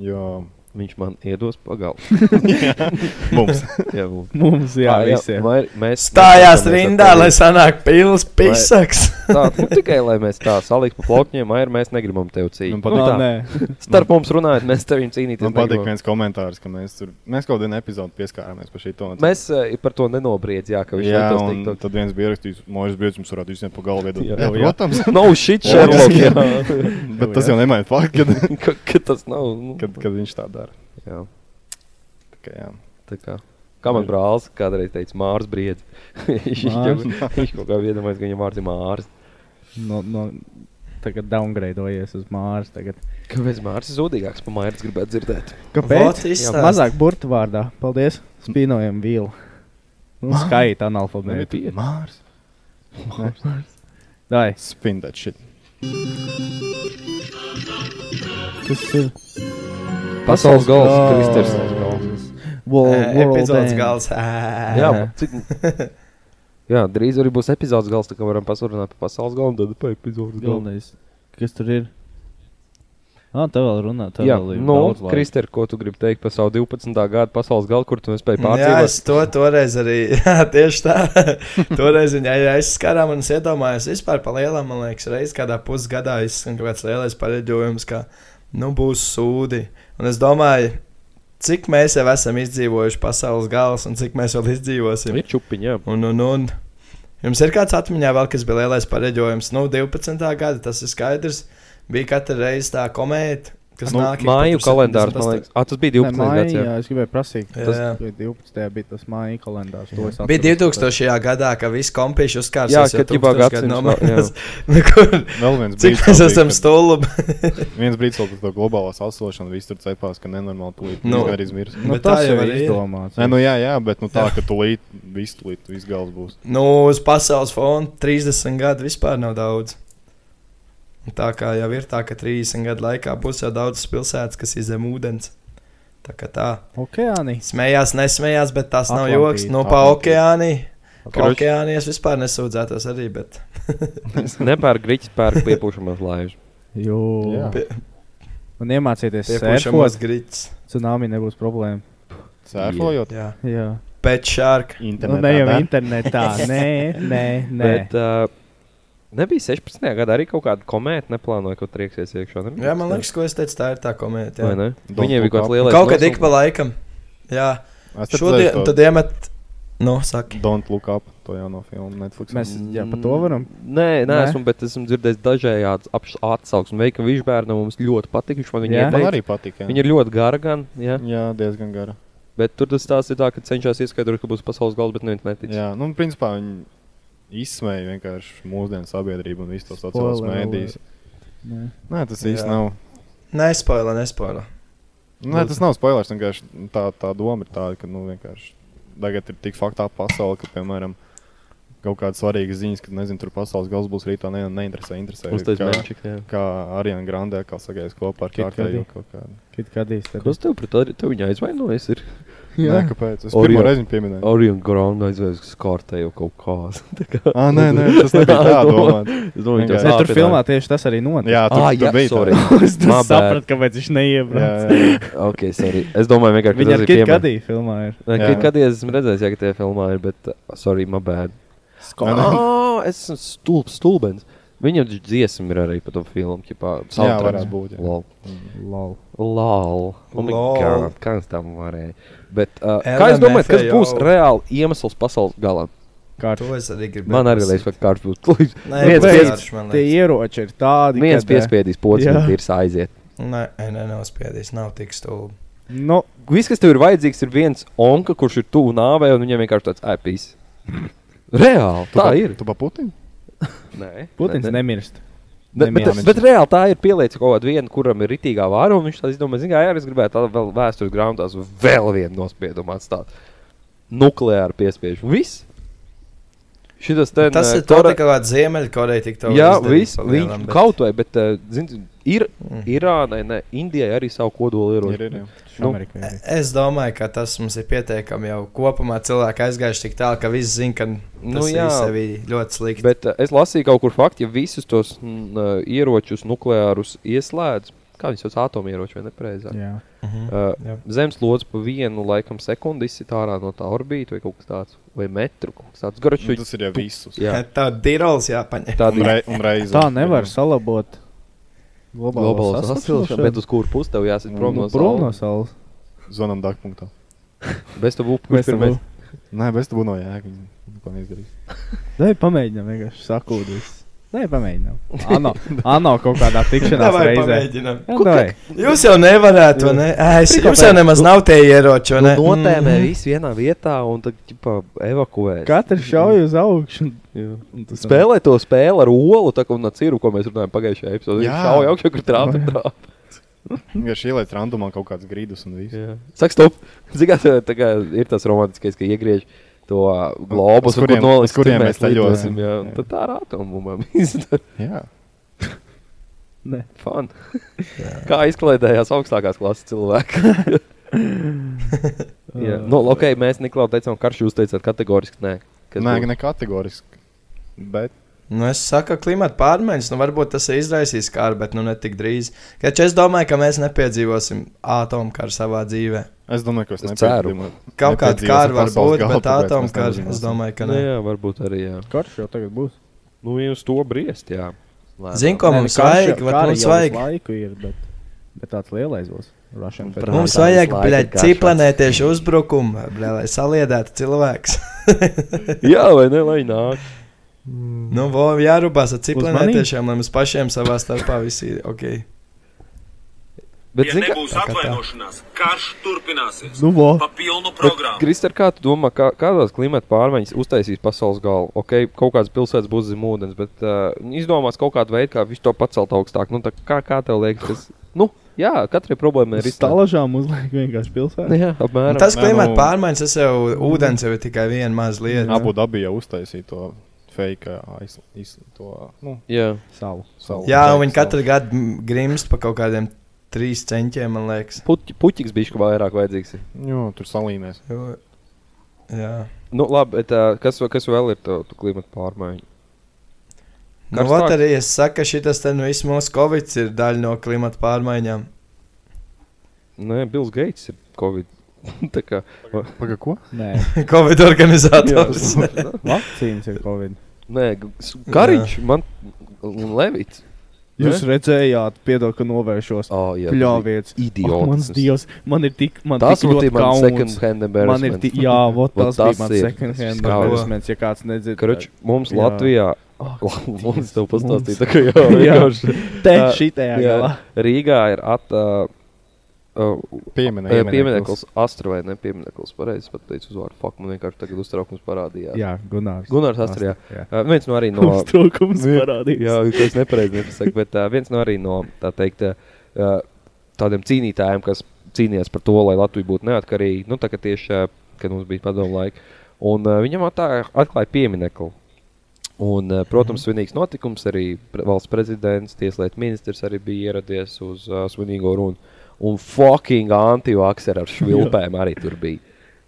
S12: Jo
S1: viņš man iedos pagalu.
S12: Mums.
S1: jā, mums.
S10: Mums, jā, visiem.
S1: Mair, mēs mēs
S4: Stājās
S1: esam
S4: rindā,
S1: tevi-
S4: lai sanāk pils
S1: Vai- [laughs]
S4: pisaks.
S1: Tā, nu, tikai lai mēs tā saliktu pa plakņiem, vai mēs negribam tevi cīnīties.
S10: Nu,
S12: patīk.
S1: Nu, tā.
S12: Nē.
S1: Starp mums runājot, mēs tevim cīnīties.
S12: Nu, Man patīk
S1: negribam.
S12: viens komentārs, ka mēs, tur, mēs kaut kādā epizodē pieskārāmies par šī tēmu.
S1: Mēs eh, par to nenobriedzām, ka viņš
S12: Jā,
S1: ir
S12: un tad viens bija rakstījis, Mojas Brīsīs mums varētu visiem pa galvu iedot.
S1: Jā,
S12: Jā,
S1: jā.
S12: protams.
S1: No shit,
S12: Jā,
S1: Sherlock,
S12: jā.
S1: jā.
S12: Bet
S1: Jā,
S12: tas
S1: jā.
S12: jau nemaina faktu,
S1: [laughs] ka, ka tas nav. Nu.
S12: Kad, kad viņš tā dara.
S1: Jā.
S12: Tā kā, jā.
S1: Tā kā, kā man brālis kādreiz teica, Mārs Briedis. [laughs] Viņš
S10: Mārs.
S1: jau- viņš kaut kā iedomājās, ka viņam vārds ir Mārs.
S10: No, no, tagad downgradeojies uz Mārs. Tagad.
S1: Kāpēc Mārs ir zudīgāks par Mārs? Gribētu dzirdēt.
S10: Kāpēc?
S1: Jā,
S10: Jā, mazāk burtu vārdā. Paldies. Spīnojam vīlu. Nu,
S12: Mārs. Nē,
S10: skaita analfabēti.
S12: pie- Mārs.
S10: Dai.
S12: Spin that shit.
S10: Tas ir.
S1: Pasaules gals, Kristers.
S10: World,
S4: Eh,
S10: world
S4: epizodes
S10: end.
S4: gals.
S1: Jā, cik... [laughs] Jā, drīz arī būs epizodes gals, tā kā varam pasvarunāt par pasaules galu un tad par epizodes galu.
S10: Galvenais. Kas tur ir? Ah, tev vēl runā. Tev
S1: Jā,
S10: vēl ir
S1: nu,
S10: daudz laika.
S1: Kristēr, ko tu gribi teikt par savu 12. gada pasaules galu, kur tu nespēji
S4: Jā, es
S1: pārdzīvot?
S4: to toreiz arī, [laughs] jā, tieši
S1: [laughs]
S4: tā. toreiz viņa arī aizskarām un es iedomājos, vispār pa lielam, man liekas, reiz kādā pusgadā izskan kaut kāds lielais pareģojums, ka, nu, būs sūdi. Un es domāju, cik mēs jau esam izdzīvojuši pasaules gals un cik mēs vēl izdzīvosim.
S1: Ir čupiņi, jā.
S4: Un, un, un. Jums ir kāds atmiņā vēl, kas bija lielais pareģojums? Nu, 12. gada, tas ir skaidrs. Bija katra reize tā komēta, kas
S1: Nu,
S4: nāk ik
S1: māju
S4: katru
S1: kalendārs, man
S4: 78.
S1: liekas. Ah, tas bija 12.
S10: Nē,
S1: gads, jā.
S10: māja, jā, es gribēju prasīt,
S4: Jā,
S10: tas
S4: jā.
S10: bija 12. bija tas māja kalendārs. to es
S4: Bija
S10: atceros.
S4: 2000. gadā, ka viss kompīši uzkārsās.
S10: Jā,
S4: jau
S10: kad ķibā
S4: 1000
S10: gadsimts
S4: gadu
S10: vēl,
S4: nomaiņas.
S12: jā.
S4: [laughs] Nu, kur-
S12: Vēl viens
S4: Cik
S12: brīdis
S4: mēs
S12: vēl bija,
S4: esam
S12: kad-
S4: stulbi?
S12: viens brīdis vēl par to globālo sasilšanu, viss tur cepās, ka nenormāli tūlīt
S4: Nu.
S12: nu, arī mirs.
S4: Nu, Bet tas tā jau jau arī ir. izdomāts,
S12: Nē,
S4: jā.
S12: nu jā, jā, bet nu tā,
S4: Jā.
S12: ka tūlīt viss tūlīt viss gals būs.
S4: Nu, uz pasaules fona 30 gadu vispār nav daudz. Un Tā kā jau ir tā, ka 30 gadu laikā būs jau daudzas pilsētas, kas ir zem ūdens. Tā kā tā.
S10: Okeāni.
S4: Smējās, nesmējās, bet tas nav
S10: Atlantī,
S4: joks. No pa
S10: Atlantī.
S4: okeāni. Pa
S1: Kruč.
S4: okeāni es vispār nesūdzētos arī, bet.
S1: [laughs] Nepērk grīķis, pērk piepūšamās laivas.
S10: Jū.
S1: Jā.
S10: Un iemācieties
S4: Piepūšamās
S10: surfot.
S4: grīķis.
S10: Cunami nebūs problēma.
S12: Sērfojot?
S4: Jā.
S10: Jā.
S4: Pēc šārka.
S10: Nu, ne jau internetā. [laughs] Nē, nē, nē.
S1: Bet, uh, nebija 16. gadā arī kaut kāda komēta, neplānoja, ka trieksies iekšā. nebija?
S4: Jā, man liekas, ko es teicu, tā ir tā komēta.
S1: Vai ne? Viņiem bija kaut kāds lielais
S4: Kaut kad
S1: nosaukumā.
S4: ik pa laikam. Jā,
S12: Es te
S4: šodien,
S12: redzēju to-
S4: un tad iemet. Nu, saka.
S12: Don't look up, to jauno filmu Netflix.
S10: Mēs jā, par to varam.
S1: Mm. Nē, nē, nē.
S10: Nē?
S1: Esmu, bet esmu dzirdējis dažādas atsauksmes. Veikam, viņš bērnam mums ļoti patīk. Viņš man viņa
S12: Jā? Man
S1: ieteica.
S12: arī patika, jā.
S1: Viņa ir ļoti gara. Gan, jā.
S12: jā, diezgan gara.
S1: Bet tur tas stāsts ir tā, ka cenšas izskaidrot, ka būs pasaules gals, bet neviens netic.
S12: Jā, nu, principā viņi izsmēja vienkārši mūsdienu sabiedrību un visu to sociālos
S10: Spoiler
S12: mēdījus.
S10: Nē.
S12: Nē, tas
S4: Jā.
S12: īsti nav.
S4: Nespoilē, nespoilē.
S12: Nē, tas nav spoilers. Vienkārši tā, tā doma ir tāda, ka nu, vienkārši tagad ir tik faktā pasaule, ka, piemēram, kaut kādas svarīgas ziņas, ka, nezinu, tur pasaules gals būs rītā, ne, neinteresē. Interesē,
S1: Uztais
S12: kā,
S1: mēnčiks, jā.
S12: kā Ariana Grande, kā sagājas kopā ar kārtējo kaut kādu.
S10: Kit kādīs.
S1: Kas tev par to ir? Tev viņa aizvainojas. ir?
S12: Jā. Nē, kāpēc? Es pirmo
S1: Orion-
S12: reizi viņu pieminēju.
S1: Orion Grande aizvainojas, ka skārtējo kaut kā. Tā kā-
S12: Ā, Ah, nē, nē,
S1: [laughs]
S12: tas nebija tā domāts.
S1: Es domāju,
S10: Nē,
S1: tas
S10: tur
S1: sāpināja.
S10: filmā tieši tas arī notika.
S1: Jā, tur- Ah, tur jā, bija tā.
S12: [laughs]
S1: sorry.
S10: [laughs] es
S1: My bad.
S10: sapratu, kāpēc viņš neiebrauc.
S1: [laughs] okay, sorry. es domāju, vienkārši, ka
S10: Viņa
S1: tas
S10: ar
S1: ir
S10: Kit
S1: piemērs.
S10: Kadī filmā ir.
S1: Nē,
S10: Jā.
S1: Kit Kadī es esmu redzējis, jā, ka tajā filmā ir, bet, uh, sorry, my bad.
S12: Nē, nē.
S1: Ā, Es esmu stulbs, stulbens. Viņam taču dziesma ir arī par to filmu. Ķipā,
S12: varētu būt, jā.
S1: Lol.
S12: Lol.
S1: Lol. Oh my
S12: Lol.
S1: God, kā es tam varēju? Bet, uh, kā jūs domājat, kas
S4: LMFAO?
S1: būs reāli iemesls pasaules galam?
S4: Karš. To es arī gribēju
S1: Man arī
S4: prasīt.
S1: liekas, ka kārš būs.
S4: Nē, Viens būs pies- karš, man
S10: Tie ieroči ir tādi,
S1: Viens
S10: kad, eh,
S1: piespiedīs pocis,
S10: jā.
S1: bet ir aiziet.
S4: Nē, nē, nospiedīs, nav tik stulbi.
S10: nu,
S1: No. Viss, kas tev ir vajadzīgs, ir viens onka, kurš ir tuvu nāvei, un viņam vienkārši tāds
S12: [laughs]
S1: apīs. Reāli,
S12: Tu
S1: tā
S12: pa-
S1: ir.
S12: Tu pa Putinu?
S1: Nē,
S10: Putins
S1: nē, nē.
S10: nemirst.
S1: Ne, bet, tas,
S10: Nemierina.
S1: bet reāli tā ir pielietota kaut kāda viena, kuram ir rītīgā vāra, un viņš tā izdomā, zina, jā, arī es gribētu tādu vēl vēstures grāmatās vēl vienu nospiedumu atstāt. Nukleāru piespiežu. Viss. Šitas te.
S4: Tas
S1: eh,
S4: ir tā
S1: Kore-
S4: kā Ziemeļkoreja tik tālu.
S1: Jā, viss. Viņš bet... kaut vai, bet, eh, zini, ir
S4: Mhm.
S1: mm. Irānai, ne, Indijai arī savu kodoli
S12: Ir, ir,
S1: ieroči.
S12: jā.
S1: Nu,
S4: Es domāju, ka tas mums ir pietiekami jau kopumā. Cilvēki aizgājuši tik tālu, ka viss zina, ka
S1: Nu,
S4: nu,
S1: jā.
S4: tas ir ļoti slikti.
S1: Bet uh, es lasīju kaut kur faktu, ja visus tos n, uh, ieročus, nukleārus ieslēdz, kā viņas sauc, atomieroči vai nepareizāk.
S10: Jā.
S4: Mhm,
S1: Uh, Zemeslodes pa vienu laikam sekundi izsit ārā no tā orbīta vai kaut kas tāds, vai metru kaut kas tāds. Garašu,
S12: Nu, tas ir jau visus.
S4: [laughs]
S1: Jā,
S4: Tā dirols jāpaņem. [laughs]
S1: Tādi-
S12: Un, rei, un reizes.
S10: Tā nevar salabot. globālo
S1: globālā sasilšana,
S10: sasilšanu.
S1: bet uz kuru pusi tev jāsit prom
S10: Nu,
S1: no
S10: prom no
S1: saules?
S10: saules.
S12: Zonam dārgpunktā.
S1: Bez tev būtu kurš
S10: Bez tā
S1: pirmais.
S10: bū-
S12: Nē, bez tam no jēgas. Ko neizdarīs?
S10: Dai, pamēģinām vienkārši sakūdīt. Nē, pamēģinām. Ano, ano kaut kādā tikšanās
S4: Davai,
S10: reizē.
S4: pamēģinām.
S10: Jā, davai.
S4: Jūs jau nevarat, vai ne? Ē, Es, jums jau nemaz nav tie ieroči, vai ne?
S1: Nu, Notēmē
S4: Mhm.
S1: visu vienā vietā un tad ķipa, evakuē.
S10: Katrs šauj uz augšu. un tas-
S1: Spēlē to spēli ar olu, tā kā un ar ciru, ko mēs runājam pagājušajā epizodē.
S12: Jā.
S1: Viņš šauja augšā, kur trāpa trāpa.
S4: Mhm.
S12: Vienkārši ielaiž randumā kaut kādas grīdas un viss.
S1: Jā. Saka, stop. Zināt, tā kā ir tas romantiskais, ka iegriež to ā, globus,
S12: Uz
S1: un
S12: kuriem-
S1: kur noliks,
S12: uz kuriem
S1: tur
S12: mēs ceļosim.
S1: lidosim, Jā, jā.
S12: Jā.
S1: Tad tā ir atombumam [laughs] izdara.
S12: Jā.
S10: Nē.
S1: Fan. [laughs] Kā izklaidējās augstākās klases cilvēki? jā, nu, ok, mēs Niklā teicām, karš jūs teicāt kategoriski nē. Kas
S12: Nē,
S1: būs?
S12: ne kategoriski. Bet
S4: Nu, es saku, ka klimata pārmaiņas, nu, varbūt tas ir izraisījis kāru, bet nu ne tik drīz. Taču es domāju, ka mēs nepiedzīvosim atomkaru savā dzīvē.
S12: es domāju, ka es
S1: Es
S12: nepiedzīvoju-
S1: ceru.
S4: Kaut kāda
S12: nepiedzīvosim
S4: kāra var
S12: pārbaudas
S4: būt,
S12: galu,
S4: bet
S12: tāpēc mēs
S4: atomkars,
S12: nezināsim.
S4: es domāju, ka
S1: Nu,
S4: nē.
S1: jā, varbūt arī. Jā.
S10: Karš jau tagad būs. nu,
S1: Nu, jūs to briest, jā. Lēnām.
S4: Zini, ko mums vajag? Vat Mums vajag
S10: Laiku ir, bet, bet tāds lielais būs. Russian Federation.
S4: Mums vajag,
S1: laika
S4: bļaļ,
S1: garšās.
S4: ciplanētieši uzbrukumu, bļaļ, lai saliedētu
S12: [laughs]
S4: cilvēks.
S1: jā, vai ne, lai nāk.
S4: nu, vo, jārūpās ar ciplanētiešiem,
S10: Uzmanīgi.
S4: lai mums pašiem savā starpā visi ir ok.
S1: Bet, zini, ka...
S14: nebūs
S4: tā kā tā.
S14: atvainošanās, karš turpināsies.
S10: Nu, vo.
S14: pa pilnu programmu.
S1: Kristēns, kā tu domā, kā, kādās klimata pārmaiņas uztaisīs pasaules galu? Okay, kaut kādas pilsētas būs zem ūdens, bet uh, izdomās kaut kādu veidu, kā viņš to pacelt augstāk. Nu, tā kā, kā tev liekas, tas nu, jā, katrai problēmai ir
S10: Uz stalažām uzliek vienkārši pilsētu.
S1: Jā, apmēram.
S4: Tas
S12: Nē,
S4: klimata
S12: nu-
S4: pārmaiņas, tas jau ūdens jau ir tikai viena maza lieta.
S12: abu dabī jau uztaisīja to fake uh, aizslu. Nu,
S1: Jā,
S10: Salu.
S12: salu.
S4: Jā,
S12: Fake
S4: un viņi
S12: salu.
S4: katru gadu mm, grimst pa kaut kādiem trīs centiem, man liekas.
S1: puķis, puķis bija vairāk vajadzīgs. ir.
S12: Jo, tur salīmēs.
S4: Jo- Jā.
S1: Nu, labi, bet, uh, kas, kas vēl ir tā tā klimata pārmaiņa?
S4: Nu,
S1: Karstāk.
S4: vat arī es saku, ka šis te nu viss mūsu covid ir daļa no klimata pārmaiņām. [laughs]
S1: Nē, Nu, Bills Gates ir Covid. [laughs] Tā kā,
S12: Paga, ko?
S10: Nē,
S4: Covid organizators.
S1: Jā,
S10: vakcīnas ir Covid.
S1: Nē, g- s- Kariņš, man Levits.
S10: Jūs redzējāt, piedod, ka novēršos.
S1: Oh, jā,
S10: Pļāvietis.
S1: Idiots.
S10: Ak, mans dievs, man ir tik, man
S1: Tas
S10: tik
S1: vot ir
S10: ļoti
S1: mans
S10: kauns.
S1: second-hand
S10: Man ir
S1: embarrassment.
S10: tik, jā,
S1: [laughs]
S10: vot
S1: Vot
S10: tas bija
S1: tas
S10: mans
S1: ir
S10: second hand
S1: skauts.
S10: embarrassment, ja kāds nedzird.
S1: Kruč, mums
S10: Jā.
S1: jā. Latvijā. [laughs] Oh, mums tev pastāstīja, tā kā jau
S10: [laughs] Jā.
S1: vienkārši.
S10: Te
S1: Ā,
S10: šitajā
S1: Uh, jā,
S10: galā.
S1: Rīgā ir at, uh, uh,
S12: Piemine-
S1: piemineklis, Astra vai ne piemineklis, pareizi pat teicu uzvārdu. Fuck, man vienkārši tagad uztraukums parādījās.
S10: Jā, Gunārs.
S1: Gunārs Astra, jā. [laughs]
S10: Jā.
S1: Uh, viens no arī no.
S10: Mums trūkums
S1: Vien-
S10: parādījās.
S1: Jā, tas nepareizi nepasaku, bet uh, viens no arī no, tā teikt, uh, tādiem cīnītājiem, kas cīnījās par to, lai Latvija būtu neatkarīga, nu, tā kā tieši, uh, kad mums bija padomu laika. Un uh, viņam atā- atklāja pieminekli. Un, uh, protams,
S10: Mhm.
S1: svinīgs notikums arī pre valsts prezidents, tieslietu ministrs arī bija ieradies uz uh, svinīgo runu. Un fucking antivakcēra ar švilpēm arī tur bija.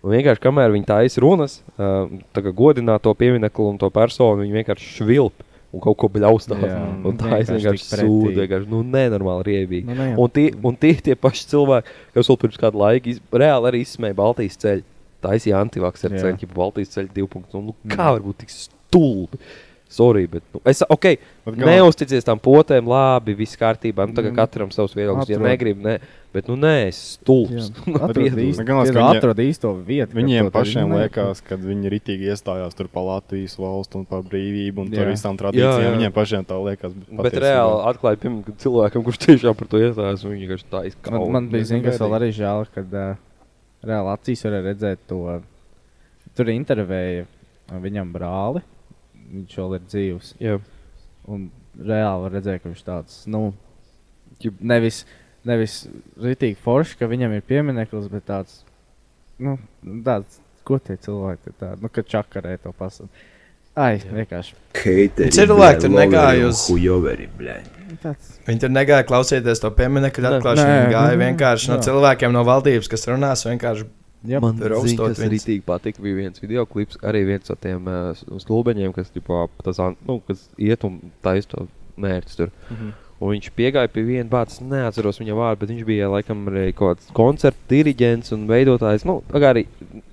S1: Un vienkārši kamēr viņi taisa runas, uh, tā kā godinā to pieminekli un to personu, viņi vienkārši švilp. Un kaut ko bļaustās.
S10: Jā,
S1: Un tā es
S10: vienkārši
S1: vienkārši
S10: tik pretī.
S1: sūdu. vienkārši, Nu, nenormāli riebīgi.
S10: Nu, nē.
S1: un tie, un tie, tie paši cilvēki, kas vēl pirms kāda laika iz, reāli arī izsmēja Baltijas ceļu. Taisīja antivakcēra
S10: Jā.
S1: ceļu, ja Baltijas ceļu 2.0. Nu, kā var būt tik stulbi? Sorry, bet nu, es okay,
S12: kā-
S1: neusticies tam potēm, labi, viss kārtībā. Nu,
S10: Mm.
S1: tagad katram savs viedoklis, ja
S12: Atrod.
S1: negribu, ne. Bet, nu, nē, es stulbs. [laughs] Nu, piedod.
S12: Viņiem pašiem liekas, ka viņi ritīgi iestājās tur par Latvijas valstu un par brīvību un par
S1: Jā.
S12: visām
S1: Jā,
S12: tradīcijām.
S1: jā.
S12: Viņiem pašiem tā liekas.
S1: Bet reāli atklāja, pirmkārt, ka cilvēkam, kurš tiešām par to iestājās, viņš vienkārši tā izkaut.
S10: Man, man bija zināms, kas vēl arī žēl, kad uh, reāli acīs varēja redzēt to. Tur intervēja uh, viņam brāli. Viņš vēl ir dzīves.
S1: Jā.
S10: Un reāli var redzēt, ka viņš tāds nu, jeb- nevis, nevis rītīgi foršs, ka viņam ir piemineklis, bet tāds, nu, tāds ko tie cilvēki tur tādi, nu, ka čakarē to pasauli. Ai, vienkārši.
S4: Keiteri, Cilvēki tur bļa, negāja loveri un uz-
S5: Hujoveri, blē.
S10: Tāds.
S4: Viņi tur negāja klausīties to pieminiektu
S10: Nē.
S4: atklāšanu.
S10: Nē,
S4: Viņi gāja
S10: nē,
S4: vienkārši no
S10: jā.
S4: cilvēkiem no valdības, kas runās. Vienkārši
S1: Man
S4: tur
S1: zini,
S4: raustot
S1: kas arī
S4: viņus.
S1: tīk patika. Bija viens video klips, arī viens no tiem uh, stulbeņiem, kas, ģipā, tas, an- nu, kas iet un taisa to mērķi tur.
S15: Mhm.
S1: Un viņš piegāja pie viena bāra, neatceros viņa vārdu, bet viņš bija laikam arī kaut kāds koncerta diriģents un veidotājs. Nu, tā kā arī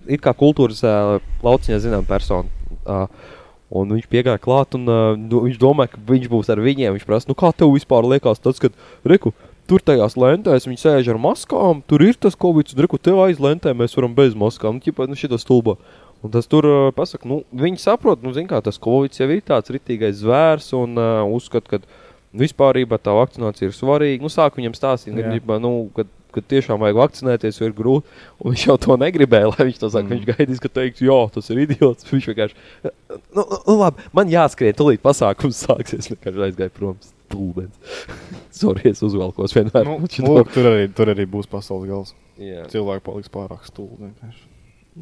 S1: it kā kultūras uh, lauciņā zinām personu. Uh, Un viņš piegāja klāt, un uh, nu, viņš domāja, ka viņš būs ar viņiem. Viņš prasa, nu kā tev vispār liekas, tas, kad Riku, tur tajās lentēs viņi sēž ar maskām, tur ir tas kovics, un Riku, tev aiz lentē mēs varam bez maskām. Nu, ķipa, nu šito stulbo. Un tas tur uh, pasaka, nu, viņi saprot, nu, zin kā tas kovics jau ir tāds ritīgais zvērs un uh, uzskat, ka vispār tā vakcinācija ir svarīga. Nu, sāk viņam stāstīt, ka,
S15: Jā.
S1: ģipa, nu, kad, kad tiešām vajag vakcinēties, jo ir grūti. Un viņš jau to negribēja, lai viņš to saka. Mm. Viņš gaidīs, ka teiks, jo tas ir idiots. Viņš vienkārši, nu, nu, nu, labi, man jāskrien, tūlīt pasākums sāksies. Viņš vienkārši aizgāja prom. Stulbens. [laughs] Sorry, es uzvelkos vienmēr.
S12: Nu,
S1: [laughs] Šito-
S12: lūk, tur, arī, tur arī būs pasaules gals.
S1: Jā.
S12: Cilvēki paliks pārāk stulbi. vienkārši.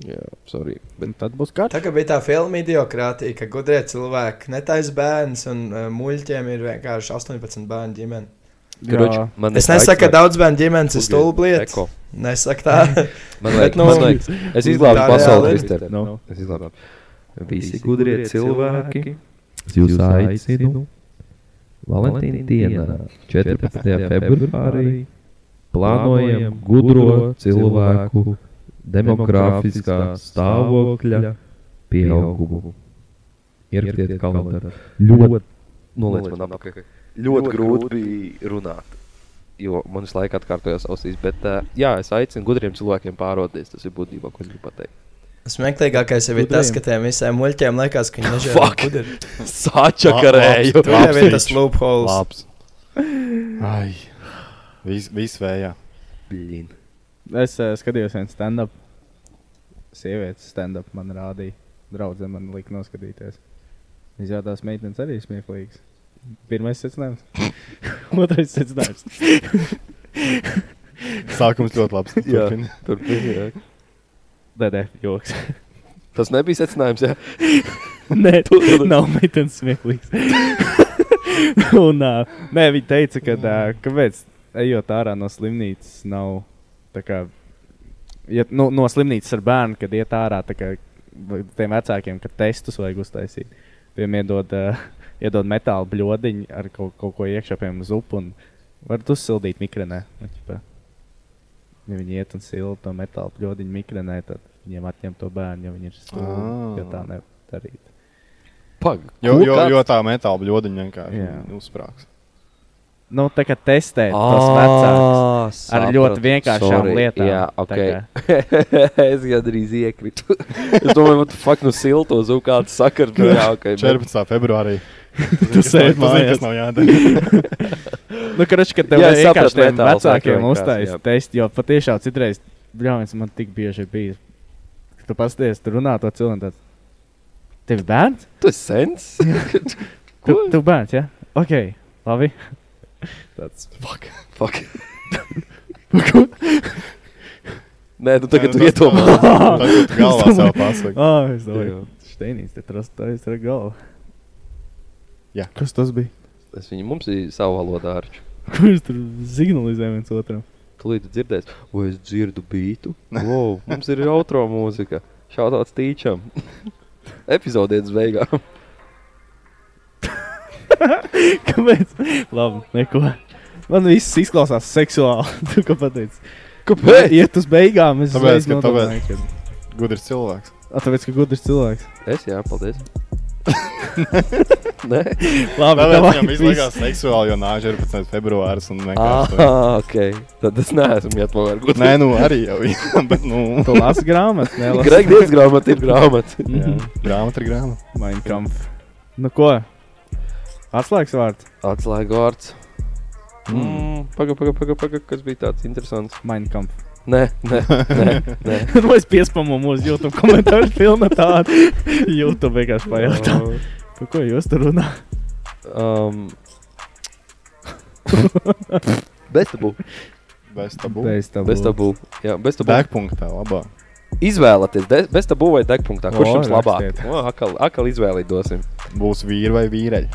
S1: Jā, sorry. Bet...
S10: Tad būs kārtas.
S4: Tā kā bija tā filma idiokrātija, ka gudrie cilvēki netaisa bērns un uh, muļķiem ir vienkārši 18 bērnu ģimene.
S1: Karoči, man
S4: es
S1: ir
S4: nesaku, ka
S1: aicinājums.
S4: daudz bērnu ģimenes ir
S1: Pagaid,
S4: stulba lieta.
S1: eko.
S4: Nesaku
S10: [laughs]
S4: tā.
S1: Man
S4: Bet,
S1: liekas,
S4: nu,
S1: nu, man liekas, es izglābu
S4: tā
S1: pasauli.
S4: reāli ir.
S1: Kristēn.
S10: Nu.
S1: Es izglābu. Visi
S15: gudrie
S1: gudrie
S15: cilvēki,
S1: cilvēki.
S15: es jūs aicinu Valentīna dienā, 14. februārī, plānojam gudro cilvēku demografiskā stāvokļa pieaugumu. Ieradiet kalendārā. Ļoti
S1: noliec nu, man apakšā. Ļoti grūti bija runāt. Jo man visu laiku atkārtojās ausīs. Bet, uh, jā, es aicinu gudriem cilvēkiem pāroties. Tas ir būtībā, ko es gribu pateikt.
S4: Smieklīgākais jau ir tas, ka tiem visiem muļķiem liekas, ka viņi nežēl.
S1: Fuck! Sāčakarēju.
S4: Tur jau ir tas loopholes.
S12: Labs. Ai, viss vis vējā.
S1: Blin.
S10: Es uh, skatījos vienu stand-up. Sievietes stand-up man rādīja. Draudzene man lika noskatīties. Viņas jau tās meitenes arī ir smieklīgas. Pirmais secinājums. [laughs] Otrais secinājums.
S12: Sākums ļoti labs.
S1: Jā,
S12: Turpini.
S1: turpini, jā.
S10: Nē, nē, joks.
S1: Tas nebija secinājums, jā.
S10: [laughs] Nē, tu nav meitenes smieklīgs. [laughs] Un, uh, nē, viņa teica, ka uh, kāpēc ejot ārā no slimnīcas nav tā kā. Ja, nu, no slimnīcas ar bērnu, kad iet ārā, tā kā vai tiem vecākiem, ka testus vajag uztaisīt. Viņam iedod, uh, iedod metāla bludiņu ar kaut, kaut ko iekšā, piemēram, zupu, un varat uzsildīt mikronē. Nu, ķipā, Ja viņi iet un silda to metāla bludiņu mikronē, tad viņiem atņem to bērnu, ja viņi ir stūri.
S12: Ā.
S10: Tā nevar darīt.
S1: Pag,
S12: Jo,
S10: Ko
S12: jo,
S10: kāds-
S12: jo tā metāla bludiņa
S10: Jā.
S12: vienkārši uzsprāgs.
S10: Nu, tā kā testēt tos
S1: Ā,
S10: vecākus ar ļoti
S1: Ah, sapratu.
S10: vienkāršām
S1: Sorry,
S10: lietām.
S1: Jā,
S10: Tā
S1: ok.
S10: kā-
S1: [laughs] es gandrīz iekritu. es domāju, man fakt no nu silto zūmu kāds sakars. nu Jā, ok. bet-
S12: 14. februārī.
S10: Tu sēdi
S12: mājās.
S10: mājās.
S12: Nav jādara.
S10: nu, karoči, ka tev
S1: Jā,
S10: jā,
S1: es
S10: vienkārši
S1: sapratu,
S10: tiem
S1: metāls
S10: vecākiem
S1: laikam vienkārši,
S10: uztaisīt
S1: jā.
S10: testu, jo patiešām citreiz, brālis, man tik bieži ir bijis, ka tu pasties, tu runā to cilvēku, tāds, tev ir bērns?
S1: Tu esi sens?
S10: tu, tu bērns, jā? Ja? Ok, labi. tāds,
S1: fuck, fuck. Nē, nu [laughs] tagad
S10: Nē,
S1: tu
S10: nu tas-
S1: iedomā.
S10: Tagad tu galvā
S12: sev pasaki.
S10: Ah, es domāju, Steinīts, te tas tā ir [laughs] galva.
S12: Jā.
S10: Kas tas bija?
S1: Es viņu mums ir savā valodā ārču.
S10: Kurš tur signalizē viens otram? [laughs]
S1: Tūlīt tu dzirdēsi, vai es dzirdu bītu. Wow, mums ir outro mūzika. Šādāds [laughs] tīčam. Epizodietas [laughs] beigām.
S10: Kāpēc? Labi, neko. Man viss izklausās seksuāli. [laughs] Tu kā pateici?
S1: Kāpēc?
S10: Iet uz beigām. Es
S12: Tāpēc, ka
S10: tāpēc.
S12: tāpēc gudrs cilvēks.
S1: [laughs]
S10: Tāpēc, ka gudrs cilvēks.
S1: Es jā, paldies. Nē? Labi,
S12: Labi, Tāpēc
S1: davai,
S12: viņam izlikās
S1: viss.
S12: seksuāli, jo nāca 14. februāris un vienkārši...
S1: Ah, ok. Tad es neesmu
S12: tā-
S1: gatavs.
S12: Nē, nu arī jau, jā, [laughs] bet nu...
S10: Tu lasi
S1: [laughs]
S10: grāmatas, nelasi.
S1: Gregdienas grāmata ir grāmata.
S12: Jā, grāmata ir grāmata.
S10: Minecraft. Nu ko? Atslēgas vārds.
S1: Atslēgas vārds. Hmm. Pagaid, pagaid, pagaid, paga, kas bija tāds interesants.
S10: Minecraft. [laughs]
S1: Nē, nē, nē. nē.
S10: Nu, es piespamu mūsu YouTube komentāru filmu tādu. [laughs] YouTube vienkārši pajautā. Par ko jūs tur runājat?
S1: [laughs] Um. [laughs] Bez tabu.
S12: Bez tabu.
S10: Bez tabu.
S1: Bez tabu. Jā, bez tabu.
S12: Degpunktā, labā.
S1: Izvēlaties, de- bez tabu vai degpunktā. Kurš
S12: O,
S1: jums labāk?
S12: rakstiet.
S1: O, Akal, akal izvēlīt
S10: [laughs]
S1: dosim.
S12: Būs vīri vai vīreļi.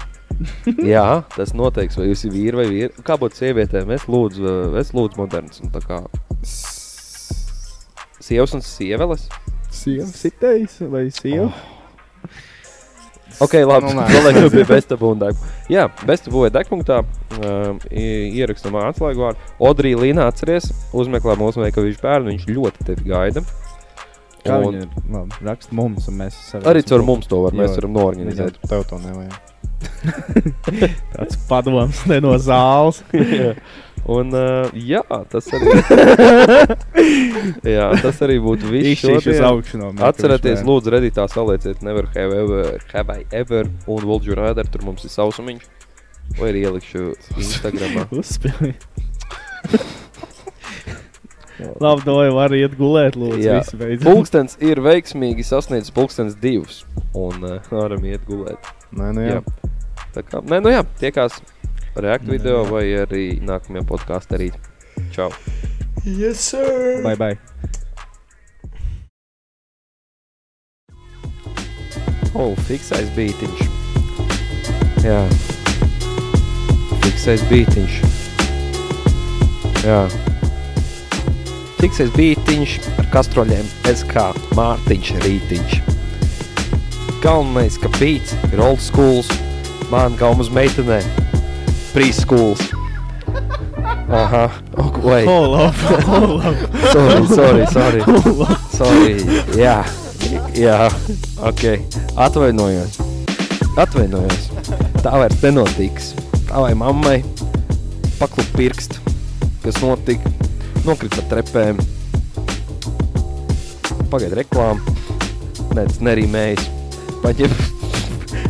S1: Jā, tas noteikti. Vai jūs esat vīri vai vīri? Kā būtu sievietēm? Es lūdzu, eh, es lūdzu moderns. un tā kā s- Sievas un sieveles?
S10: Sievas. Sitējis vai sieva?
S1: Oh, Ok, labi.
S10: Nu, nē.
S1: Kolēģi, bija bestabūna. Jā, bestabūna degpunktā um, ierakstam atslēgu vārdu. Odrija Līna atceries, uzmeklē mūsu veikavišu bērnu, viņš ļoti tevi gaida.
S10: Kā
S1: Un
S10: viņi ir? Labi, rakst mums, un mēs saviem
S1: Arī
S10: esam
S1: caur
S10: kopā.
S1: mums to var, mēs
S10: Jā.
S1: varam noorganizēt.
S12: Viņam Tev to nevajag.
S10: Tāds padoms ne no zāles.
S1: Jā. Un, uh, jā, tas arī,
S10: [laughs]
S1: jā, tas arī būtu viss.
S10: Īšķīši uz
S1: šodien.
S10: augšu no Mac
S1: Atcerieties,
S10: Vision.
S1: lūdzu, redītā salieciet Never Have Ever, Have I Ever un Volģu Rādar, tur mums ir sausumiņš. Vai arī ielikšu Instagramā.
S10: Uzspēlēji. [laughs] Labi, domāju, var iet gulēt, lūdzu.
S1: Jā,
S10: visi beidzot.
S1: pulkstenis ir veiksmīgi sasniedzis pulkstenis divus. Un uh, varam iet gulēt.
S12: Nē, nu jā.
S1: Tā kā, nē, nu jā, tiekās reakt video vai arī nākamajā podkāstā arī. Čau!
S4: Yes, sir!
S10: Bye, bye.
S1: O, Oh, fiksais beigtiņš. Jā, fiksais beigtiņš. Jā, fiksais beigtiņš ar kastroļiem. Es kā Mārtiņš Rītiņš. Galvenais, ka beigts ir old school, man gaumas meitenē, preschools. Aha, ok, vai.
S10: Hold up, hold up.
S1: sorry, sorry, sorry.
S10: Hold up.
S1: sorry. Jā, jā, ok. Atvainojos. Atvainojos. Tā vairs nenotiks. Tā vai mammai paklupa pirkstu, kas notika, nokrita pa trepēm. Pagaid, reklāmas. Nē, tas nerīmējas. Paņem. [laughs]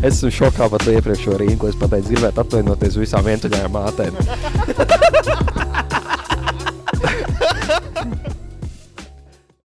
S1: Es esmu šokā par to iepriekšējo rīku, ko es pateicu. Gribētu atvainoties visām vientuļajām mātēm.